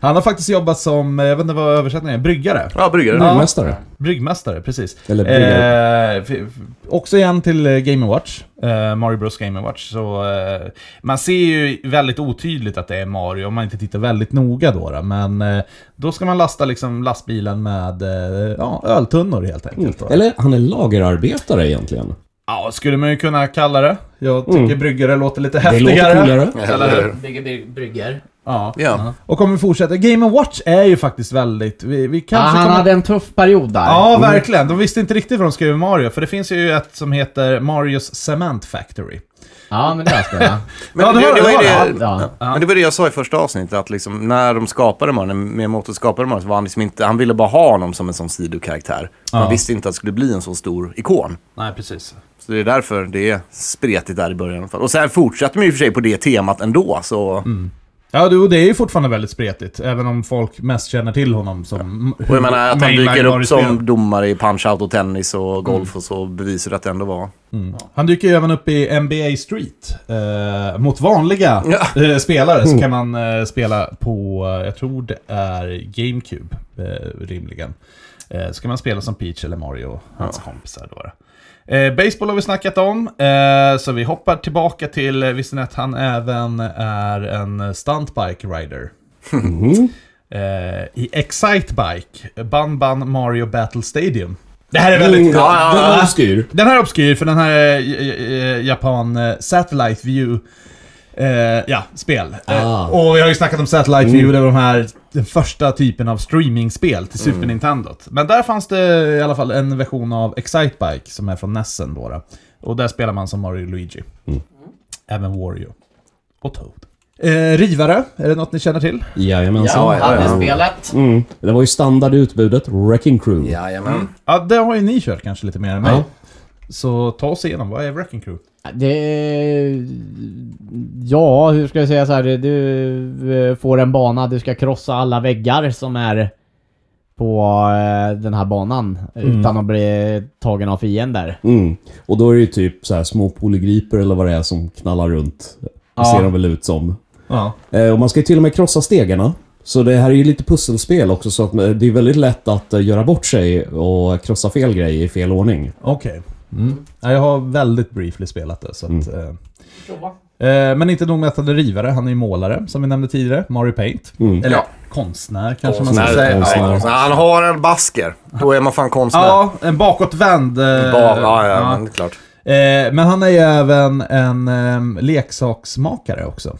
Speaker 1: han har faktiskt jobbat som, eh, jag vet inte vad översättningen är, bryggare.
Speaker 5: Ja, bryggare.
Speaker 1: Ja.
Speaker 2: Byggmästare.
Speaker 1: Bryggmästare, precis.
Speaker 2: Eller bryggare.
Speaker 1: Eh, f- f- också igen till eh, Game Watch. Eh, Mario Bros Game Watch. Så, eh, man ser ju väldigt otydligt att det är Mario om man inte tittar väldigt noga då. då. Men eh, då ska man lasta liksom, lastbilen med eh, ja, öltunnor helt enkelt. Då.
Speaker 2: Eller han är lagerarbetare egentligen.
Speaker 1: Ja, skulle man ju kunna kalla det. Jag tycker bryggare låter lite
Speaker 2: Mm. Det
Speaker 1: häftigare.
Speaker 2: låter coolare.
Speaker 5: Eller hur?
Speaker 4: Bygger brygger.
Speaker 1: Ja.
Speaker 5: Ja.
Speaker 1: Och kommer fortsätta. Game Watch är ju faktiskt väldigt... Vi, vi
Speaker 4: Ja,
Speaker 1: kanske
Speaker 4: han
Speaker 1: kommer...
Speaker 4: hade en tuff period där.
Speaker 1: Ja, verkligen. De visste inte riktigt vad de skulle göra med Mario, för det finns ju ett som heter Marios Cement Factory.
Speaker 4: Ja, men det har jag spelat.
Speaker 5: Men
Speaker 1: Ja, det var det,
Speaker 5: ju
Speaker 1: det var
Speaker 5: det-
Speaker 4: Ja.
Speaker 5: Ja. Men det var det jag sa i första avsnittet, att liksom, när de skapade Mario, med motor skapade Mario, så var han liksom inte, han ville bara ha honom som en sån sidokaraktär. Han
Speaker 1: Ja.
Speaker 5: visste inte att det skulle bli en så stor ikon.
Speaker 1: Nej, precis.
Speaker 5: Så det är därför det är spretigt där i början i alla fall. Och sen fortsatte man ju i och för sig på det temat ändå, så...
Speaker 1: Mm. Ja, du, och det är ju fortfarande väldigt spretigt, även om folk mest känner till honom som...
Speaker 5: Och jag menar att han
Speaker 1: main
Speaker 5: dyker upp
Speaker 1: Mario-spel.
Speaker 5: som domare i Punch-Out och tennis
Speaker 1: Mm.
Speaker 5: och golf och så bevisar det att det ändå var...
Speaker 1: Han dyker ju även upp i NBA Street. Eh, mot vanliga
Speaker 5: Ja.
Speaker 1: eh, spelare så kan man eh, spela på, eh, jag tror det är GameCube, eh, rimligen. Eh, så kan man spela som Peach eller Mario och hans kompisar. Då. Eh, baseball har vi snackat om, eh, så vi hoppar tillbaka till, eh, visste ni att han även är en stuntbike rider? Eh, I Excite Bike, Ban Ban Mario Battle Stadium. Det här är väldigt
Speaker 2: Mm,
Speaker 5: Ja, ja,
Speaker 2: Den
Speaker 5: ja.
Speaker 2: var obskyr.
Speaker 1: den här är obskyr för den här är j- j- Japan eh, Satellite View eh, ja, spel.
Speaker 2: Ah.
Speaker 1: Eh, och jag har ju snackat om Satellite View, det var de här, den första typen av streamingspel till Super Nintendo. Men där fanns det i alla fall en version av Excitebike som är från Nessen då. då. Och där spelar man som Mario och Luigi. Även Wario. Och Toad. Eh, rivare, är det något ni känner till?
Speaker 2: Jajamensan.
Speaker 4: Ja,
Speaker 5: ja,
Speaker 4: hade
Speaker 5: ja.
Speaker 4: spelet.
Speaker 2: Mm. Det var ju standardutbudet, Wrecking Crew.
Speaker 5: Jajamän.
Speaker 1: Ja, det har ju ni kört kanske lite mer än mig. Så ta oss igenom, vad är Wrecking Crew?
Speaker 4: Det... Ja, hur ska jag säga så här? Du eh, får en bana, du ska krossa alla väggar som är på eh, den här banan utan att bli tagen av fiender.
Speaker 2: Mm. Och då är det ju typ så här små polygriper eller vad det är som knallar runt. Det ser de väl ut som.
Speaker 1: Ja.
Speaker 2: Eh, Och man ska ju till och med krossa stegarna. Så det här är ju lite pusselspel också, så att eh, det är väldigt lätt att eh, göra bort sig och krossa fel grejer i fel ordning.
Speaker 1: Okej. Mm. Ja, jag har väldigt briefly spelat det. Så att,
Speaker 5: Mm.
Speaker 1: eh, eh, men inte nog med att han är rivare, han är ju målare, som vi nämnde tidigare. Mario Paint. Eller,
Speaker 5: Mm. Ja.
Speaker 1: konstnär kanske man
Speaker 3: Konstnär.
Speaker 1: ska säga.
Speaker 2: Konstnär.
Speaker 1: Ja.
Speaker 5: Så Han har en basker. Då är man fan konstnär.
Speaker 1: Ja, en bakåtvänd. eh,
Speaker 5: Bara, ja, ja,
Speaker 1: ja.
Speaker 5: Men, det är klart.
Speaker 1: Eh, men han är ju även en ehm, leksaksmakare också.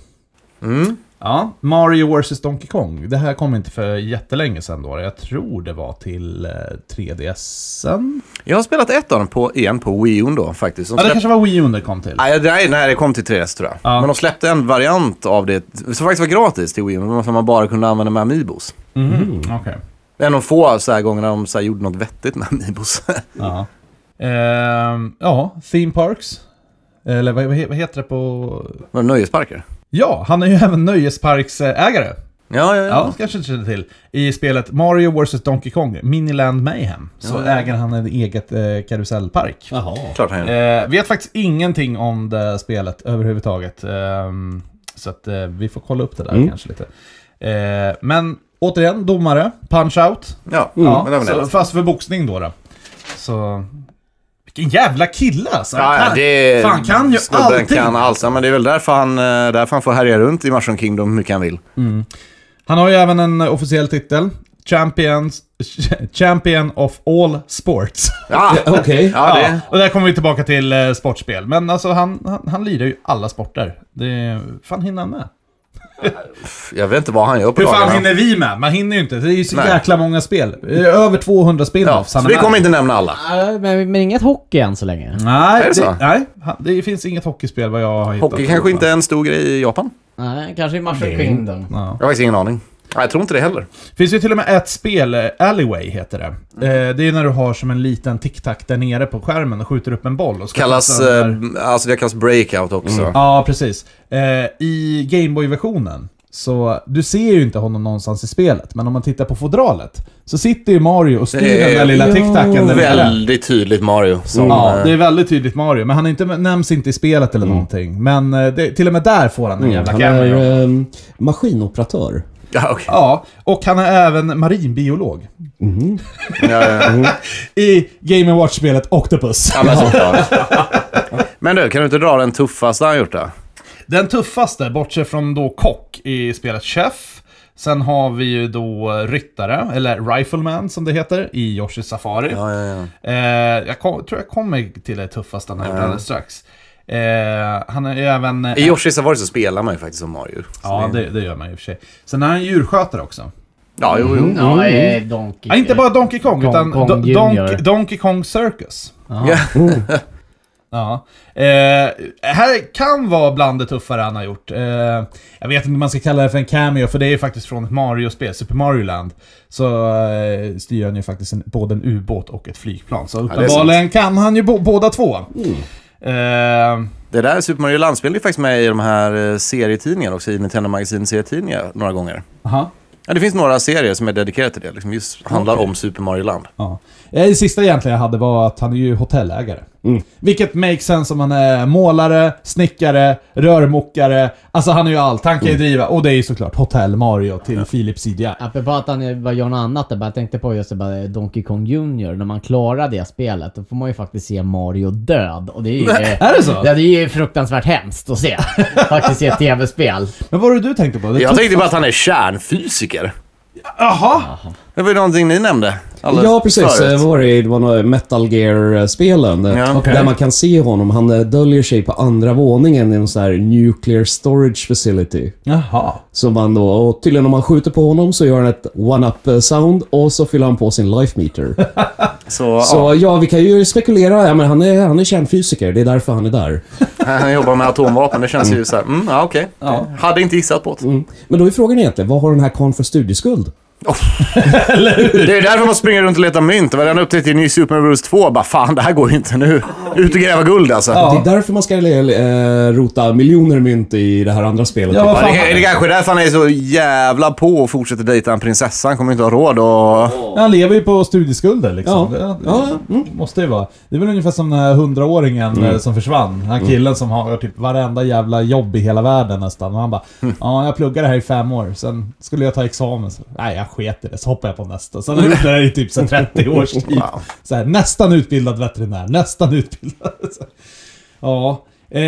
Speaker 5: Mm.
Speaker 1: Ja, Mario vs Donkey Kong. Det här kom inte för jättelänge sedan då. Jag tror det var till eh, 3DSen.
Speaker 5: Jag har spelat ett av dem på, igen på Wii U då faktiskt. De
Speaker 1: Ja, det
Speaker 5: släpp-
Speaker 1: kanske var Wii U det kom till.
Speaker 5: Nej, nej, nej, det kom till 3DS tror jag.
Speaker 1: Ja.
Speaker 5: Men de släppte en variant av det som faktiskt var gratis till Wii U, som man bara kunde använda med Amiibos.
Speaker 1: Mm. Okej.
Speaker 5: Det är en av de få så här gångerna de så här gjorde något vettigt med Amiibos.
Speaker 1: Ja. Ehm, ja, Theme Parks. Eller vad, vad he- vad heter det på...
Speaker 5: Var det nöjesparker?
Speaker 1: Ja, han är ju även nöjesparksägare.
Speaker 5: Ja, ja, ja.
Speaker 1: Ja, kanske inte känner till. I spelet Mario vs Donkey Kong, Miniland Mayhem, så äger han en eget eh, karusellpark.
Speaker 2: Jaha.
Speaker 5: Klart han gör.
Speaker 1: Eh, vet faktiskt ingenting om det spelet överhuvudtaget. Ehm, så att eh, vi får kolla upp det där
Speaker 2: Mm.
Speaker 1: kanske lite. Eh, men återigen, domare, punch-out.
Speaker 5: Ja,
Speaker 1: Ja,
Speaker 5: Mm. men det var
Speaker 1: så,
Speaker 5: det.
Speaker 1: fast för boxning då. då. Så... Vilken jävla kille alltså!
Speaker 5: Ja, ja,
Speaker 1: Han-
Speaker 5: det
Speaker 1: Fan, kan ju
Speaker 5: snubben
Speaker 1: allting.
Speaker 5: Kan allt. Ja, men det är väl därför han, eh, därför han får härja runt i Mushroom Kingdom hur mycket han vill.
Speaker 1: Han har ju även en eh, officiell titel. Champions, champion of all sports.
Speaker 5: Ja,
Speaker 2: Okej.
Speaker 5: ja
Speaker 1: Ja,
Speaker 5: det.
Speaker 1: och där kommer vi tillbaka till eh, sportspel. Men alltså han, han, han lirar ju alla sporter. Det, fan hinner han med?
Speaker 5: Jag vet inte vad han gör på
Speaker 1: Hur fan
Speaker 5: dagarna.
Speaker 1: hinner vi med? Man hinner ju inte. Det är ju så
Speaker 5: Nej.
Speaker 1: jäkla många spel. Det är Över 200
Speaker 5: Ja,
Speaker 1: spin-offs.
Speaker 5: så
Speaker 1: han är
Speaker 5: vi
Speaker 1: med.
Speaker 5: kommer inte nämna alla.
Speaker 4: Ja, Men, men inget hockey än så länge.
Speaker 1: Nej,
Speaker 5: Är det så?
Speaker 1: det, nej, han- det finns inget hockeyspel vad jag har hittat.
Speaker 5: Hockey kanske inte är en stor grej i Japan.
Speaker 4: Nej, kanske i Marshall Kingdom.
Speaker 1: Ja.
Speaker 5: Jag har faktiskt ingen aning. Nej, jag tror inte det heller.
Speaker 1: finns ju till och med ett spel, eh, Alleyway heter det.
Speaker 5: Mhm.
Speaker 1: Eh, det är när du har som en liten tic-tac där nere på skärmen och skjuter upp en boll. Och ska
Speaker 5: Kallas,
Speaker 1: passa den där-
Speaker 5: eh, alltså det kallas breakout också.
Speaker 2: Mm.
Speaker 1: Ja, precis. Eh, I Gameboy-versionen, så du ser ju inte honom någonstans i spelet, men om man tittar på fodralet så sitter ju Mario och styr
Speaker 5: Det är-
Speaker 1: den där lilla
Speaker 4: Ja.
Speaker 1: tic-tacen där nere.
Speaker 5: Väldigt tydligt Mario. Som,
Speaker 1: Ja,
Speaker 5: eh,
Speaker 1: det är väldigt tydligt Mario, men han är inte, nämns inte i spelet
Speaker 5: Mm.
Speaker 1: eller någonting. Men eh, det, till och med där får han en jävla
Speaker 2: Han
Speaker 1: cameo.
Speaker 2: är ehm, maskinoperatör.
Speaker 5: ja, okej.
Speaker 1: Ja, och han är även marinbiolog.
Speaker 5: Mm. ja, ja, Mm. ja.
Speaker 1: I Game Watch-spelet Octopus.
Speaker 5: ja, men, såklart. men du, kan du inte dra den tuffaste han gjort då?
Speaker 1: Den tuffaste, bortsett från då kock i spelet Chef. Sen har vi ju då ryttare, eller Rifleman som det heter, i Yoshi Safari.
Speaker 5: Ja, ja, ja.
Speaker 1: Eh, jag kom, tror jag kommer till det tuffaste han har gjort alldeles strax. Eh, han är ju även...
Speaker 5: I Yoshi Safari så spelar man ju faktiskt som Mario. Så
Speaker 1: ja, det, det gör man i och för sig. Sen är han djurskötare också.
Speaker 5: ja jo, jo.
Speaker 4: Ja, eh, Donkey
Speaker 1: Mm. Ja, inte bara Donkey Kong,
Speaker 4: Kong-
Speaker 1: utan
Speaker 4: Kong
Speaker 1: Do-
Speaker 4: Junior.
Speaker 1: Donk- Donkey Kong Circus.
Speaker 5: Ja.
Speaker 1: Ja. Eh, här kan vara bland det tuffare han har gjort. Eh, jag vet inte om man ska kalla det för en cameo, för det är ju faktiskt från ett Mario-spel, Super Mario Land. Så eh, styr han ju faktiskt en, både en ubåt och ett flygplan. Så
Speaker 5: är sant. Mm.
Speaker 1: uppenbarligen kan han ju bo- båda två. Eh,
Speaker 5: Det där Super Mario Land-spelet är faktiskt med i de här eh, serietidningarna också, i Nintendo Magasin serietidningar några gånger.
Speaker 1: aha.
Speaker 5: Ja, det finns några serier som är dedikerade till det, liksom just handlar om Super Mario Land.
Speaker 1: Ja. Eh, Det sista egentligen jag hade var att han är ju hotellägare. Vilket makes sense om han är målare, snickare, rörmokare. Alltså han är ju allt. Han kan ju driva. Och det är ju såklart Hotell Mario till Philips CDI.
Speaker 4: Apropå att han eh, bara gör något annat, jag bara tänkte på just det, bara eh, Donkey Kong Junior. När man klarar det spelet, då får man ju faktiskt se Mario död. Och det är ju...
Speaker 1: Är det så?
Speaker 4: Ja, det är ju fruktansvärt hemskt att se. Faktiskt se ett tv-spel.
Speaker 1: Men vad var det du tänkte på? Det
Speaker 5: Jag
Speaker 1: tog-
Speaker 5: tänkte bara att han är kärnfysiker.
Speaker 1: Jaha!
Speaker 5: Det var ju någonting ni nämnde. alldeles
Speaker 2: Ja, precis. Eh,
Speaker 5: förut.
Speaker 2: Vad var det? Det var några Metal Gear-spelen. eh,
Speaker 5: Ja.
Speaker 1: Okej.
Speaker 2: Där man kan se honom. Han eh, döljer sig på andra våningen i en sån här nuclear storage facility.
Speaker 1: Jaha.
Speaker 2: Som man då, och tydligen om man skjuter på honom så gör han ett one-up eh, sound och så fyller han på sin life meter.
Speaker 5: Så,
Speaker 2: Så ja, vi kan ju spekulera. Ja, men han är, han är kärnfysiker. Det är därför han är där.
Speaker 5: ja, han jobbar med atomvapen, det känns ju så här, mm, ja okej. Hade inte gissat på det.
Speaker 2: Mm. Men då är frågan egentligen, vad har den här karln för studieskuld?
Speaker 5: Det är därför man springer runt och letar mynt. Det var den jag upptäckte i New Super Mario Bros 2, bara fan det här går ju inte nu. Ut och gräva guld alltså. Ja.
Speaker 2: Det är därför man ska eh, rota miljoner mynt i det här andra spelet. Typ.
Speaker 1: Ja, vad fan.
Speaker 5: det, är- det är kanske är därför han är så jävla på och fortsätter dejta en prinsessa. Han kommer inte ha råd och...
Speaker 1: Han lever ju på studieskulder liksom.
Speaker 2: Ja. Mm.
Speaker 1: Det, det måste ju vara. Det är väl ungefär som den här hundraåringen eh, som försvann. Den här killen som har typ varenda jävla jobb i hela världen nästan. Och han bara ja, jag pluggade här i fem år. Sen skulle jag ta examen. Så, Nej, jag sket i det. Så hoppade jag på nästa. Sen har jag gjort det här i typ så här 30 års tid.
Speaker 5: Wow.
Speaker 1: Så här, nästan utbildad veterinär. Nästan utbildad. Så. Ja. Eh,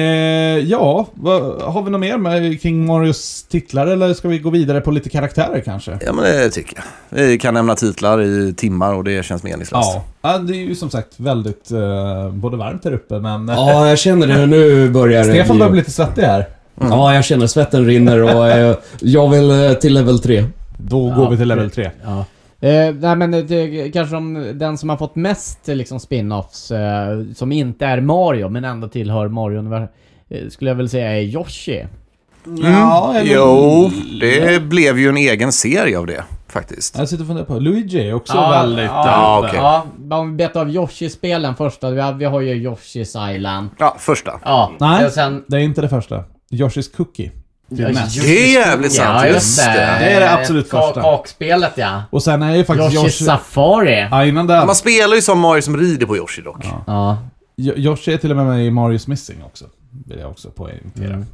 Speaker 1: ja, vad- har vi något mer med King Marios titlar eller ska vi gå vidare på lite karaktärer kanske?
Speaker 5: Ja, men det tycker jag. Vi kan nämna titlar i timmar och det känns meningslöst.
Speaker 1: Ja. ja, det är ju som sagt väldigt eh, både varmt här uppe men... eh,
Speaker 2: Ja, jag känner det. Nu börjar det
Speaker 1: Stefan börjar bli lite svettig här.
Speaker 2: Ja, jag känner svetten rinner och eh, jag vill eh, till level 3.
Speaker 1: Då
Speaker 4: Ja,
Speaker 1: går vi till level 3.
Speaker 4: Ja. Eh, nej men det- det, kanske de, den som har fått mest eh, liksom spin-offs eh, som inte är Mario men ändå tillhör Mario eh, skulle jag väl säga är Yoshi.
Speaker 1: Ja, eller-
Speaker 5: Jo, det blev ju en egen serie av det faktiskt.
Speaker 1: Jag sitter och funderar på, Luigi är också
Speaker 4: Ja,
Speaker 1: väldigt... eh,
Speaker 4: ja,
Speaker 5: uppe.
Speaker 4: ja, bara om vi betar av Yoshi-spelen första. Vi har, vi har ju Yoshi's Island.
Speaker 5: Ja, första.
Speaker 4: Ja,
Speaker 1: Nej.
Speaker 4: och sen...
Speaker 1: Det är inte det första. Yoshi's Cookie. Det är näst.
Speaker 5: Det är jävligt sant, just det.
Speaker 1: Det är det absolut första.
Speaker 4: Kak- Kakspelet ja.
Speaker 1: Och sen är ju faktiskt
Speaker 4: Yoshi
Speaker 1: Yoshi...
Speaker 4: Safari.
Speaker 1: Ja, innan det.
Speaker 5: Man spelar ju som Mario som rider på Yoshi dock.
Speaker 4: Ja.
Speaker 1: Jo- Yoshi är till och med med i Marius Missing också. Vill jag också poängtera.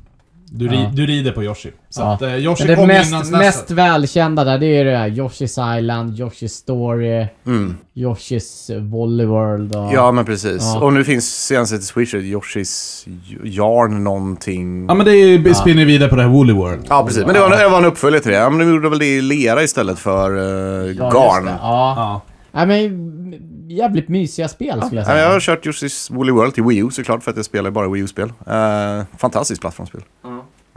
Speaker 1: Du, ri-
Speaker 4: Mm. Ja.
Speaker 1: du rider på Yoshi. Så
Speaker 4: Ja.
Speaker 1: att eh, Yoshi
Speaker 4: Men det
Speaker 1: kom ju
Speaker 4: mest,
Speaker 1: innan SNESen.
Speaker 4: mest välkända där, det är ju det här Yoshi's Island, Yoshi's Story,
Speaker 1: Mm.
Speaker 4: Yoshi's Volley World och...
Speaker 5: Ja, men precis.
Speaker 4: Ja.
Speaker 5: Och nu finns senaste till Switch Yoshis Yarn någonting.
Speaker 1: Ja men det är ju, spinner vidare på det här Woolly World.
Speaker 5: Ja, precis. Men det var, en- det var en uppföljare till det. Ja, men de gjorde väl det i lera istället för eh,
Speaker 4: Ja, just
Speaker 5: garn.
Speaker 4: det.
Speaker 5: Ja.
Speaker 4: Ja.
Speaker 1: Ja.
Speaker 4: Nej men jävligt mysiga spel skulle jag säga.
Speaker 5: Jag har kört Yoshis Woolly World till Wii U såklart för att jag spelar bara Wii U-spel. Eh, fantastiskt plattformsspel.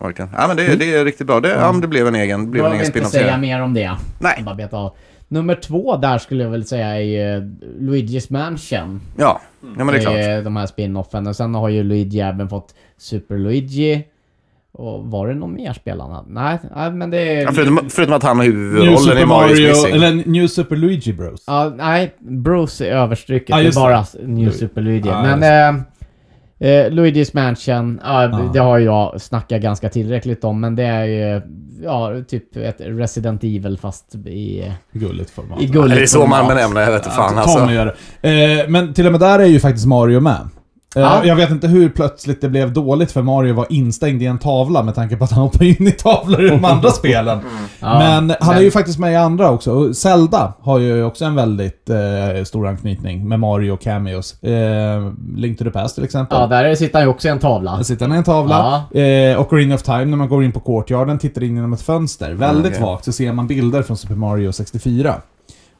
Speaker 5: Verkligen. Ja, men det, det är riktigt bra. Det, ja, men det blev en egen, blev en
Speaker 4: behöver
Speaker 5: egen
Speaker 4: inte
Speaker 5: spin-off
Speaker 4: säga
Speaker 5: serie.
Speaker 4: mer om det.
Speaker 5: Nej.
Speaker 4: Bara beta av. Nummer två där skulle jag väl säga är ju Luigi's Mansion.
Speaker 5: Ja. ja, men det är klart.
Speaker 4: är Eh, de här spin-offen. Och sen har ju Luigi även fått Super Luigi. Och var det någon mer spel han hade? Nej, nej men det är...
Speaker 5: Ja, förutom, förutom att han har
Speaker 1: New
Speaker 5: huvudrollen i
Speaker 1: Super
Speaker 5: Marios
Speaker 1: Mario,
Speaker 5: Missing.
Speaker 1: eller New Super Luigi Bros.
Speaker 4: Ja, nej, Bruce är överstrycket.
Speaker 1: Ja,
Speaker 4: det är
Speaker 1: just det.
Speaker 4: bara New Super Luigi.
Speaker 1: Ja,
Speaker 4: men... Eh, eh, Luigi's Mansion, ja, det- det har jag snackat ganska tillräckligt om men det är ju ja, typ ett Resident Evil fast i,
Speaker 1: Gulligt format.
Speaker 4: i
Speaker 5: Ja,
Speaker 4: gulligt
Speaker 5: det är så man
Speaker 4: format.
Speaker 5: benämner jag vet inte fan
Speaker 1: Tom
Speaker 5: alltså.
Speaker 1: gör det. Eh, men till och med där är ju faktiskt Mario med. Eh,
Speaker 4: Ja.
Speaker 1: Jag vet inte hur plötsligt det blev dåligt för Mario var instängd i en tavla med tanke på att han hoppade in i tavlor i de andra spelen.
Speaker 5: Mm.
Speaker 4: Ja,
Speaker 1: men han är
Speaker 4: men-
Speaker 1: ju faktiskt med i andra också. Och Zelda har ju också en väldigt eh, stor anknytning med Mario och cameos. Eh, Link to the Past till exempel.
Speaker 4: Ja, där sitter han ju också i en tavla.
Speaker 5: Alltså,
Speaker 1: Där sitter han i en tavla. Eh, och Ring of Time, när man går in på courtyarden, tittar in genom ett fönster. Väldigt
Speaker 5: Mm, okej.
Speaker 1: vagt så ser man bilder från Super Mario 64.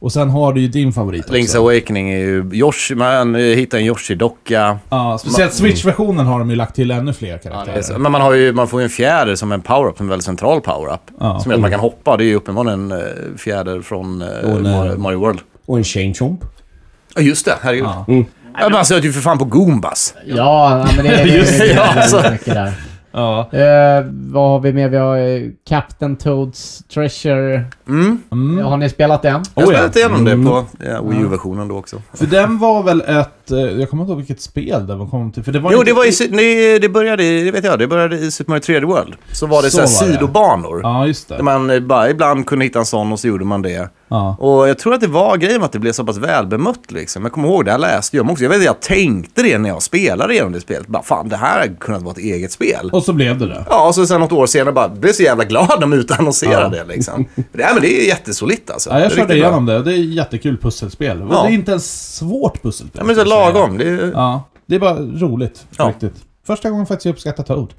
Speaker 1: Och sen har du ju din favorit också.
Speaker 5: Link's Awakening är ju Yoshi, man eh, hittar en Yoshi-docka.
Speaker 1: Ja, speciellt
Speaker 5: Mm.
Speaker 1: Switch-versionen har de ju lagt till ännu fler karaktärer.
Speaker 5: Så- Men man, har ju, man får ju en fjäder som en power-up, en väldigt central power-up.
Speaker 1: Ja. mm.
Speaker 5: Som gör att man kan hoppa. Det är ju uppenbarligen en eh, fjäder från eh,
Speaker 2: nej.
Speaker 5: Mario- Mario World.
Speaker 2: Och en chain chomp.
Speaker 5: Ja, just det. Herregud.
Speaker 1: Ja.
Speaker 5: Ja, man söker ju för fan på Goombas.
Speaker 4: Ja, ja, men det är
Speaker 5: Just det,
Speaker 4: det.
Speaker 5: ja,
Speaker 4: är väldigt
Speaker 5: alltså.
Speaker 4: mycket där.
Speaker 1: Ja.
Speaker 4: Eh, vad har vi mer? Vi har eh, Captain Toads Treasure.
Speaker 5: Mm.
Speaker 1: Mm.
Speaker 4: Har ni spelat den?
Speaker 5: Jag
Speaker 1: Oh,
Speaker 5: spelade
Speaker 1: ja.
Speaker 5: inte igenom det på
Speaker 1: Mm.
Speaker 5: ja, Wii U-versionen då också.
Speaker 1: För den var väl ett... eh, Jag kommer inte ihåg vilket spel det var kom till. För det var
Speaker 5: Jo,
Speaker 1: inte-
Speaker 5: det var i, Sy- nej, det började i, det vet jag, det började i Super Mario 3D World. Så var det
Speaker 1: Så
Speaker 5: så här
Speaker 1: var det.
Speaker 5: sidobanor.
Speaker 1: Ja, just
Speaker 5: Där
Speaker 1: det.
Speaker 5: man eh, bara ibland kunde hitta en sån och så gjorde man det.
Speaker 1: Ja.
Speaker 5: Och jag tror att det var grejen med att det blev så pass välbemött liksom. Jag kommer ihåg det, jag läste ju om också. Jag vet att jag tänkte det när jag spelade igenom det spelet. Bara fan, det här hade kunnat vara ett eget spel.
Speaker 1: Och så blev det det.
Speaker 5: Ja, och så sen något år senare bara blev så jävla glad de utannonserade
Speaker 1: Ja.
Speaker 5: det liksom. Det, men det är jättesolitt alltså.
Speaker 1: Ja,
Speaker 5: Det är
Speaker 1: jag körde
Speaker 5: riktigt bra.
Speaker 1: igenom det och det är ett jättekul pusselspel.
Speaker 5: Ja.
Speaker 1: Det är inte ens svårt pusselspel.
Speaker 5: Ja, men så
Speaker 1: ska jag säga.
Speaker 5: lagom. Det är,
Speaker 1: Ja. Det är bara roligt.
Speaker 5: Ja.
Speaker 1: Riktigt. Första gången faktiskt jag uppskattar Toad.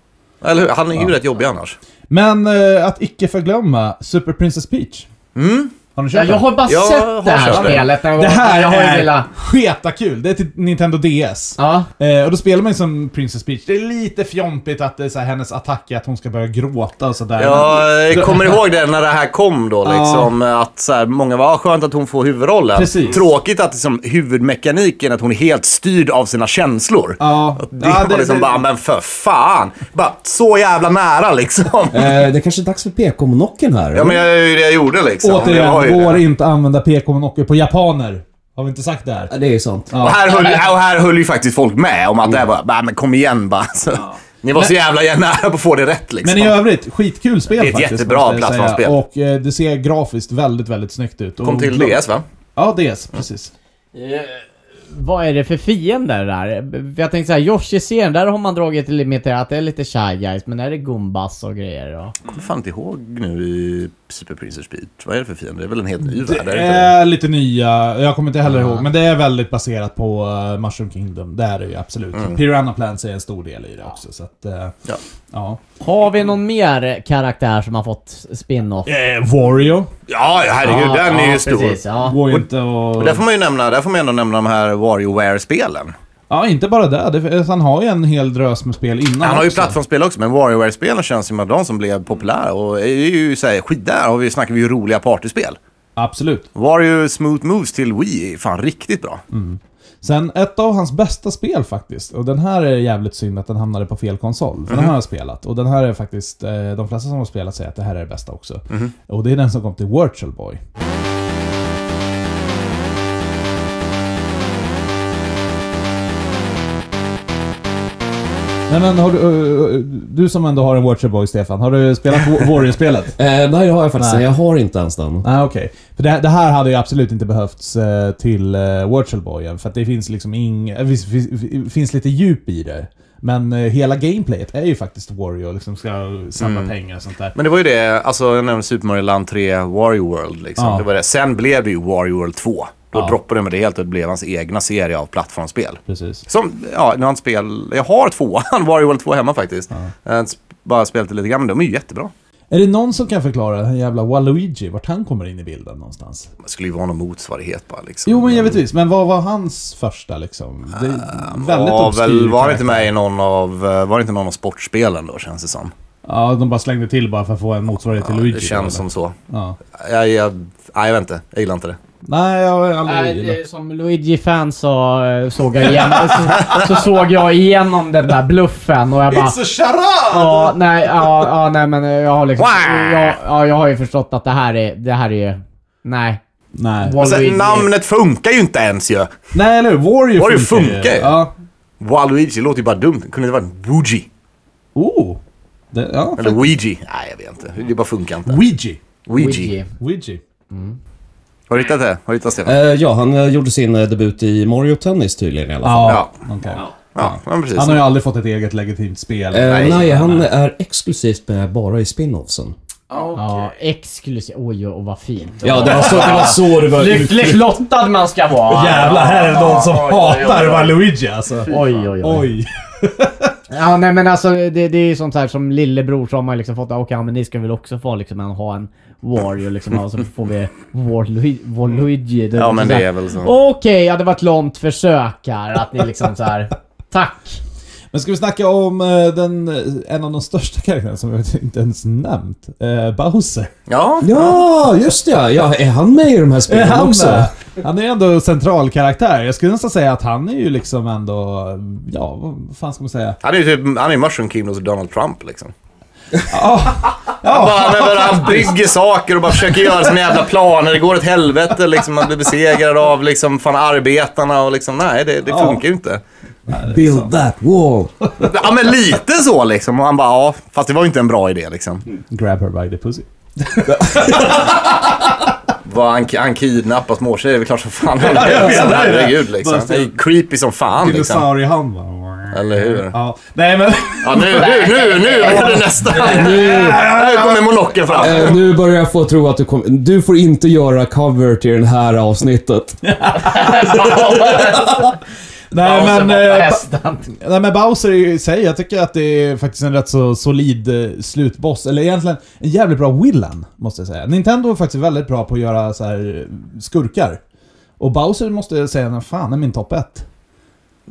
Speaker 5: Eller hur? Han är ju rätt jobbig annars.
Speaker 1: Men eh, att icke förglömma Super Princess Peach.
Speaker 5: Mm.
Speaker 1: Har ni
Speaker 4: Ja,
Speaker 1: kört
Speaker 4: jag
Speaker 1: den?
Speaker 4: har bara
Speaker 5: Jag
Speaker 4: sett
Speaker 5: har
Speaker 4: det här
Speaker 5: kört det.
Speaker 4: spelet. någon
Speaker 1: Det
Speaker 4: gång.
Speaker 1: här
Speaker 4: jag har ju
Speaker 1: är
Speaker 4: velat-
Speaker 1: skitakul! Det är till Nintendo DS.
Speaker 4: Ja.
Speaker 1: Eh, och då spelar man ju som Princess Peach. Det är lite fjompigt att det är så här, hennes attack är att hon ska börja gråta och sådär.
Speaker 5: Jag eh, kommer ihåg det när det här kom då liksom. Att så här, många var ah, skönt att hon får huvudrollen.
Speaker 1: Precis.
Speaker 5: Tråkigt att liksom, huvudmekaniken är att hon är helt styrd av sina känslor.
Speaker 1: Ja,
Speaker 5: Det
Speaker 1: ja,
Speaker 5: var liksom bara, men för fan. Bara så jävla nära liksom.
Speaker 2: Eh, det kanske är dags för PK-monocken här.
Speaker 5: Ja men jag, det är ju det jag gjorde liksom. Det var ju
Speaker 1: Återigen, går
Speaker 5: det.
Speaker 1: inte att använda PK-monocker på japaner. Har vi inte sagt det här?
Speaker 2: Ja, Det är sant.
Speaker 5: Och här, höll, och här höll ju faktiskt folk med om att det här var, bara, men kom igen bara. Så, Ni var så jävla nära på att få det rätt liksom.
Speaker 1: Men i övrigt, skitkul spel
Speaker 5: Det är ett
Speaker 1: faktiskt.
Speaker 5: jättebra
Speaker 1: måste jag säga.
Speaker 5: plattformsspel.
Speaker 1: Och eh, det ser grafiskt väldigt, väldigt snyggt ut. Och-
Speaker 5: Kom till DS va?
Speaker 1: Ja, DS. Precis.
Speaker 4: Vad är det för fiender där? För Jag tänkte såhär, Yoshi-serien, där har man dragit lite mer till att det är lite Shy Guys, men är det Gumbas och grejer och...
Speaker 5: Jag kommer fan inte ihåg nu i Super Princess Beat. Vad är det för fiende? Det är väl en helt ny värld?
Speaker 1: Det
Speaker 5: är det inte det?
Speaker 1: är lite nya, jag kommer inte heller ihåg, men det är väldigt baserat på eh, Mushroom Kingdom. Det är det ju absolut. Piranha Plants är en stor del i det också, så att... eh,
Speaker 5: Mm. Ja.
Speaker 1: ja.
Speaker 4: Har vi någon mer karaktär som har fått spin-off?
Speaker 1: Eh, Wario.
Speaker 3: Ja, herregud.
Speaker 4: Ja,
Speaker 3: den
Speaker 4: ja,
Speaker 3: är ju stor.
Speaker 4: Precis, ja.
Speaker 1: Går ju inte och...
Speaker 5: Och där får man ju nämna, där får man ändå nämna de här WarioWare-spelen.
Speaker 1: Ja, inte bara det. det. Han har ju en hel drös med spel innan
Speaker 5: Han har ju
Speaker 1: också.
Speaker 5: plattformsspel också, men WarioWare-spelen känns som att de som blev populära och är ju såhär, skit där har vi, snackar vi ju roliga partyspel.
Speaker 1: Absolut.
Speaker 5: Wario Smooth Moves till Wii är fan riktigt bra.
Speaker 1: Sen ett av hans bästa spel faktiskt, och den här är jävligt synd att den hamnade på fel konsol,
Speaker 5: Mhm.
Speaker 1: för den har jag spelat. Och den här är faktiskt, eh, de flesta som har spelat säger att det här är det bästa också.
Speaker 5: Mhm.
Speaker 1: Och det är den som kom till Virtual Boy. Nej men har du, eh, du som ändå har en Virtual Boy, Stefan, har du spelat Wa- Warrior-spelet?
Speaker 2: Eh, nej, det har jag faktiskt
Speaker 1: Nej.
Speaker 2: inte. Jag har inte ens den.
Speaker 1: Nej, okej. För det, det här hade ju absolut inte behövts eh, till eh, Virtual Boy än, för att det finns liksom ing, eh, finns, finns, finns lite djup i det. Men eh, hela gameplayet är ju faktiskt Wario, liksom ska samla pengar och sånt där.
Speaker 5: Mm. Men det var ju det, alltså jag nämnde Super Mario Land 3, Wario World liksom.
Speaker 1: Ja.
Speaker 5: Det var det. Sen blev det ju Wario World 2. Då
Speaker 1: Ja.
Speaker 5: droppade de det helt och det blev hans egna serie av plattformsspel.
Speaker 1: Precis.
Speaker 5: Som, ja, nu har han spel... Jag har tvåan, Wario World 2 hemma faktiskt. Jag har bara spelat det lite grann, men de är ju jättebra.
Speaker 1: Är det någon som kan förklara den jävla Waluigi, vart han kommer in i bilden någonstans?
Speaker 5: Det skulle ju vara någon motsvarighet bara liksom.
Speaker 1: Jo, men givetvis. Men vad var hans första liksom? Det är väldigt
Speaker 5: Ah, var,
Speaker 1: obskyr
Speaker 5: väl, var det inte med
Speaker 1: karaktär.
Speaker 5: i någon av, eh, var det inte någon av sportspelen då känns det som.
Speaker 1: Ja, de bara slängde till bara för att få en motsvarighet till
Speaker 5: Ja,
Speaker 1: Luigi.
Speaker 5: det känns
Speaker 1: eller?
Speaker 5: som så.
Speaker 1: Ja.
Speaker 5: Jag, jag, nej, jag vet inte. Jag gillar inte det.
Speaker 1: Nej, jag har aldrig
Speaker 4: Nej,
Speaker 1: gillat.
Speaker 4: det- som Luigi-fan så eh, såg jag igenom, så, så såg jag igenom den där bluffen och jag bara...
Speaker 1: a charade!
Speaker 4: Ja, nej, ja, ja, nej men eh, jag har liksom...
Speaker 5: Wow!
Speaker 4: Jag, ja, jag har ju förstått att det här är, det här är ju... Nej.
Speaker 1: Nej.
Speaker 5: Men sen,
Speaker 4: Waluigi-
Speaker 5: Alltså, namnet funkar ju inte ens ju.
Speaker 1: Nej, eller hur? Warrior,
Speaker 5: Warrior funkar
Speaker 1: ju.
Speaker 5: ju.
Speaker 1: Ja.
Speaker 5: Waluigi låter ju bara dumt. Kunde det varit Woogie?
Speaker 1: Oh! Det, ja.
Speaker 5: Eller Ouija? Nej, jag vet inte. Det bara funkar inte.
Speaker 1: Ouija.
Speaker 5: Ouija.
Speaker 1: Ouija.
Speaker 5: Har du hittat det? Har du hittat Stefan?
Speaker 2: Eh, ja, han eh, gjorde sin eh, debut i Mario Tennis tydligen i alla fall.
Speaker 1: Ja, okej.
Speaker 5: Ja, men precis.
Speaker 1: Han har ju aldrig fått ett eget legitimt spel.
Speaker 2: Eh, nej,
Speaker 5: nej,
Speaker 2: han är exklusivt med bara i spin-offsen.
Speaker 4: Ja, exklusiv. Oj, och vad fint.
Speaker 2: Ja, Alltså, det var så det, var så det var
Speaker 4: Lyckligt lottad man ska vara.
Speaker 1: Jävlar, här är det någon som
Speaker 3: Oj, oj, oj, oj.
Speaker 1: hatar Waluigi alltså.
Speaker 4: Oj, oj, oj.
Speaker 1: Oj.
Speaker 4: Ja, nej men alltså det, det är ju sånt här som lillebror som har liksom fått, okej ja, men ni ska väl också få liksom en, ha en warrior liksom, och så får vi Warlui- Waluigi. Det är
Speaker 5: Ja,
Speaker 4: liksom
Speaker 5: men
Speaker 4: så
Speaker 5: det
Speaker 4: här,
Speaker 5: är väl så.
Speaker 4: Okej, ja det var ett långt försök här att ni liksom så här. Tack!
Speaker 1: Men ska vi snacka om eh, den, eh, en av de största karaktärerna som jag inte ens nämnt? Eh, Bowser.
Speaker 5: Ja,
Speaker 2: Ja, just det ja. ja. Är han med i de här
Speaker 1: Är
Speaker 2: spelen
Speaker 1: Eh, han
Speaker 2: också?
Speaker 1: med? Han är ju ändå central karaktär. Jag skulle nästan säga att han är ju liksom ändå... Ja, vad fan ska man säga?
Speaker 5: han är ju typ, han är ju Mushroom Kingdoms Donald Trump liksom. Han,
Speaker 1: Ja,
Speaker 5: bara, men, han bygger saker och bara försöker göra sina jävla planer. Det går åt helvete liksom. Man blir besegrad av liksom fan arbetarna och liksom, nej det, det
Speaker 1: Ja.
Speaker 5: funkar ju inte.
Speaker 2: Build that wall.
Speaker 5: Ja men lite så liksom. Och han bara, ja fast det var ju inte en bra idé liksom.
Speaker 1: grab her by the pussy.
Speaker 5: Vad han, han kidnappar småtjejer, det är klart som fan han löser det. Herregud liksom. Det är creepy som fan liksom.
Speaker 1: Dinosauriehand va?
Speaker 5: Eller hur?
Speaker 1: Ja. Nej men...
Speaker 5: Ja, nu, nu, nu, nu var det nästan. Nu kommer monokeln fram.
Speaker 2: Eh, nu börjar jag få tro att du kommer... Du får inte göra cover till det här avsnittet.
Speaker 1: Nej men... eh,
Speaker 4: Hästen.
Speaker 1: Nej men Bowser i sig, jag tycker att det är faktiskt en rätt så solid eh, slutboss. Eller egentligen en jävligt bra willan, måste jag säga. Nintendo är faktiskt väldigt bra på att göra så här eh, skurkar. Och Bowser måste jag säga, "Nej, fan är min topp 1.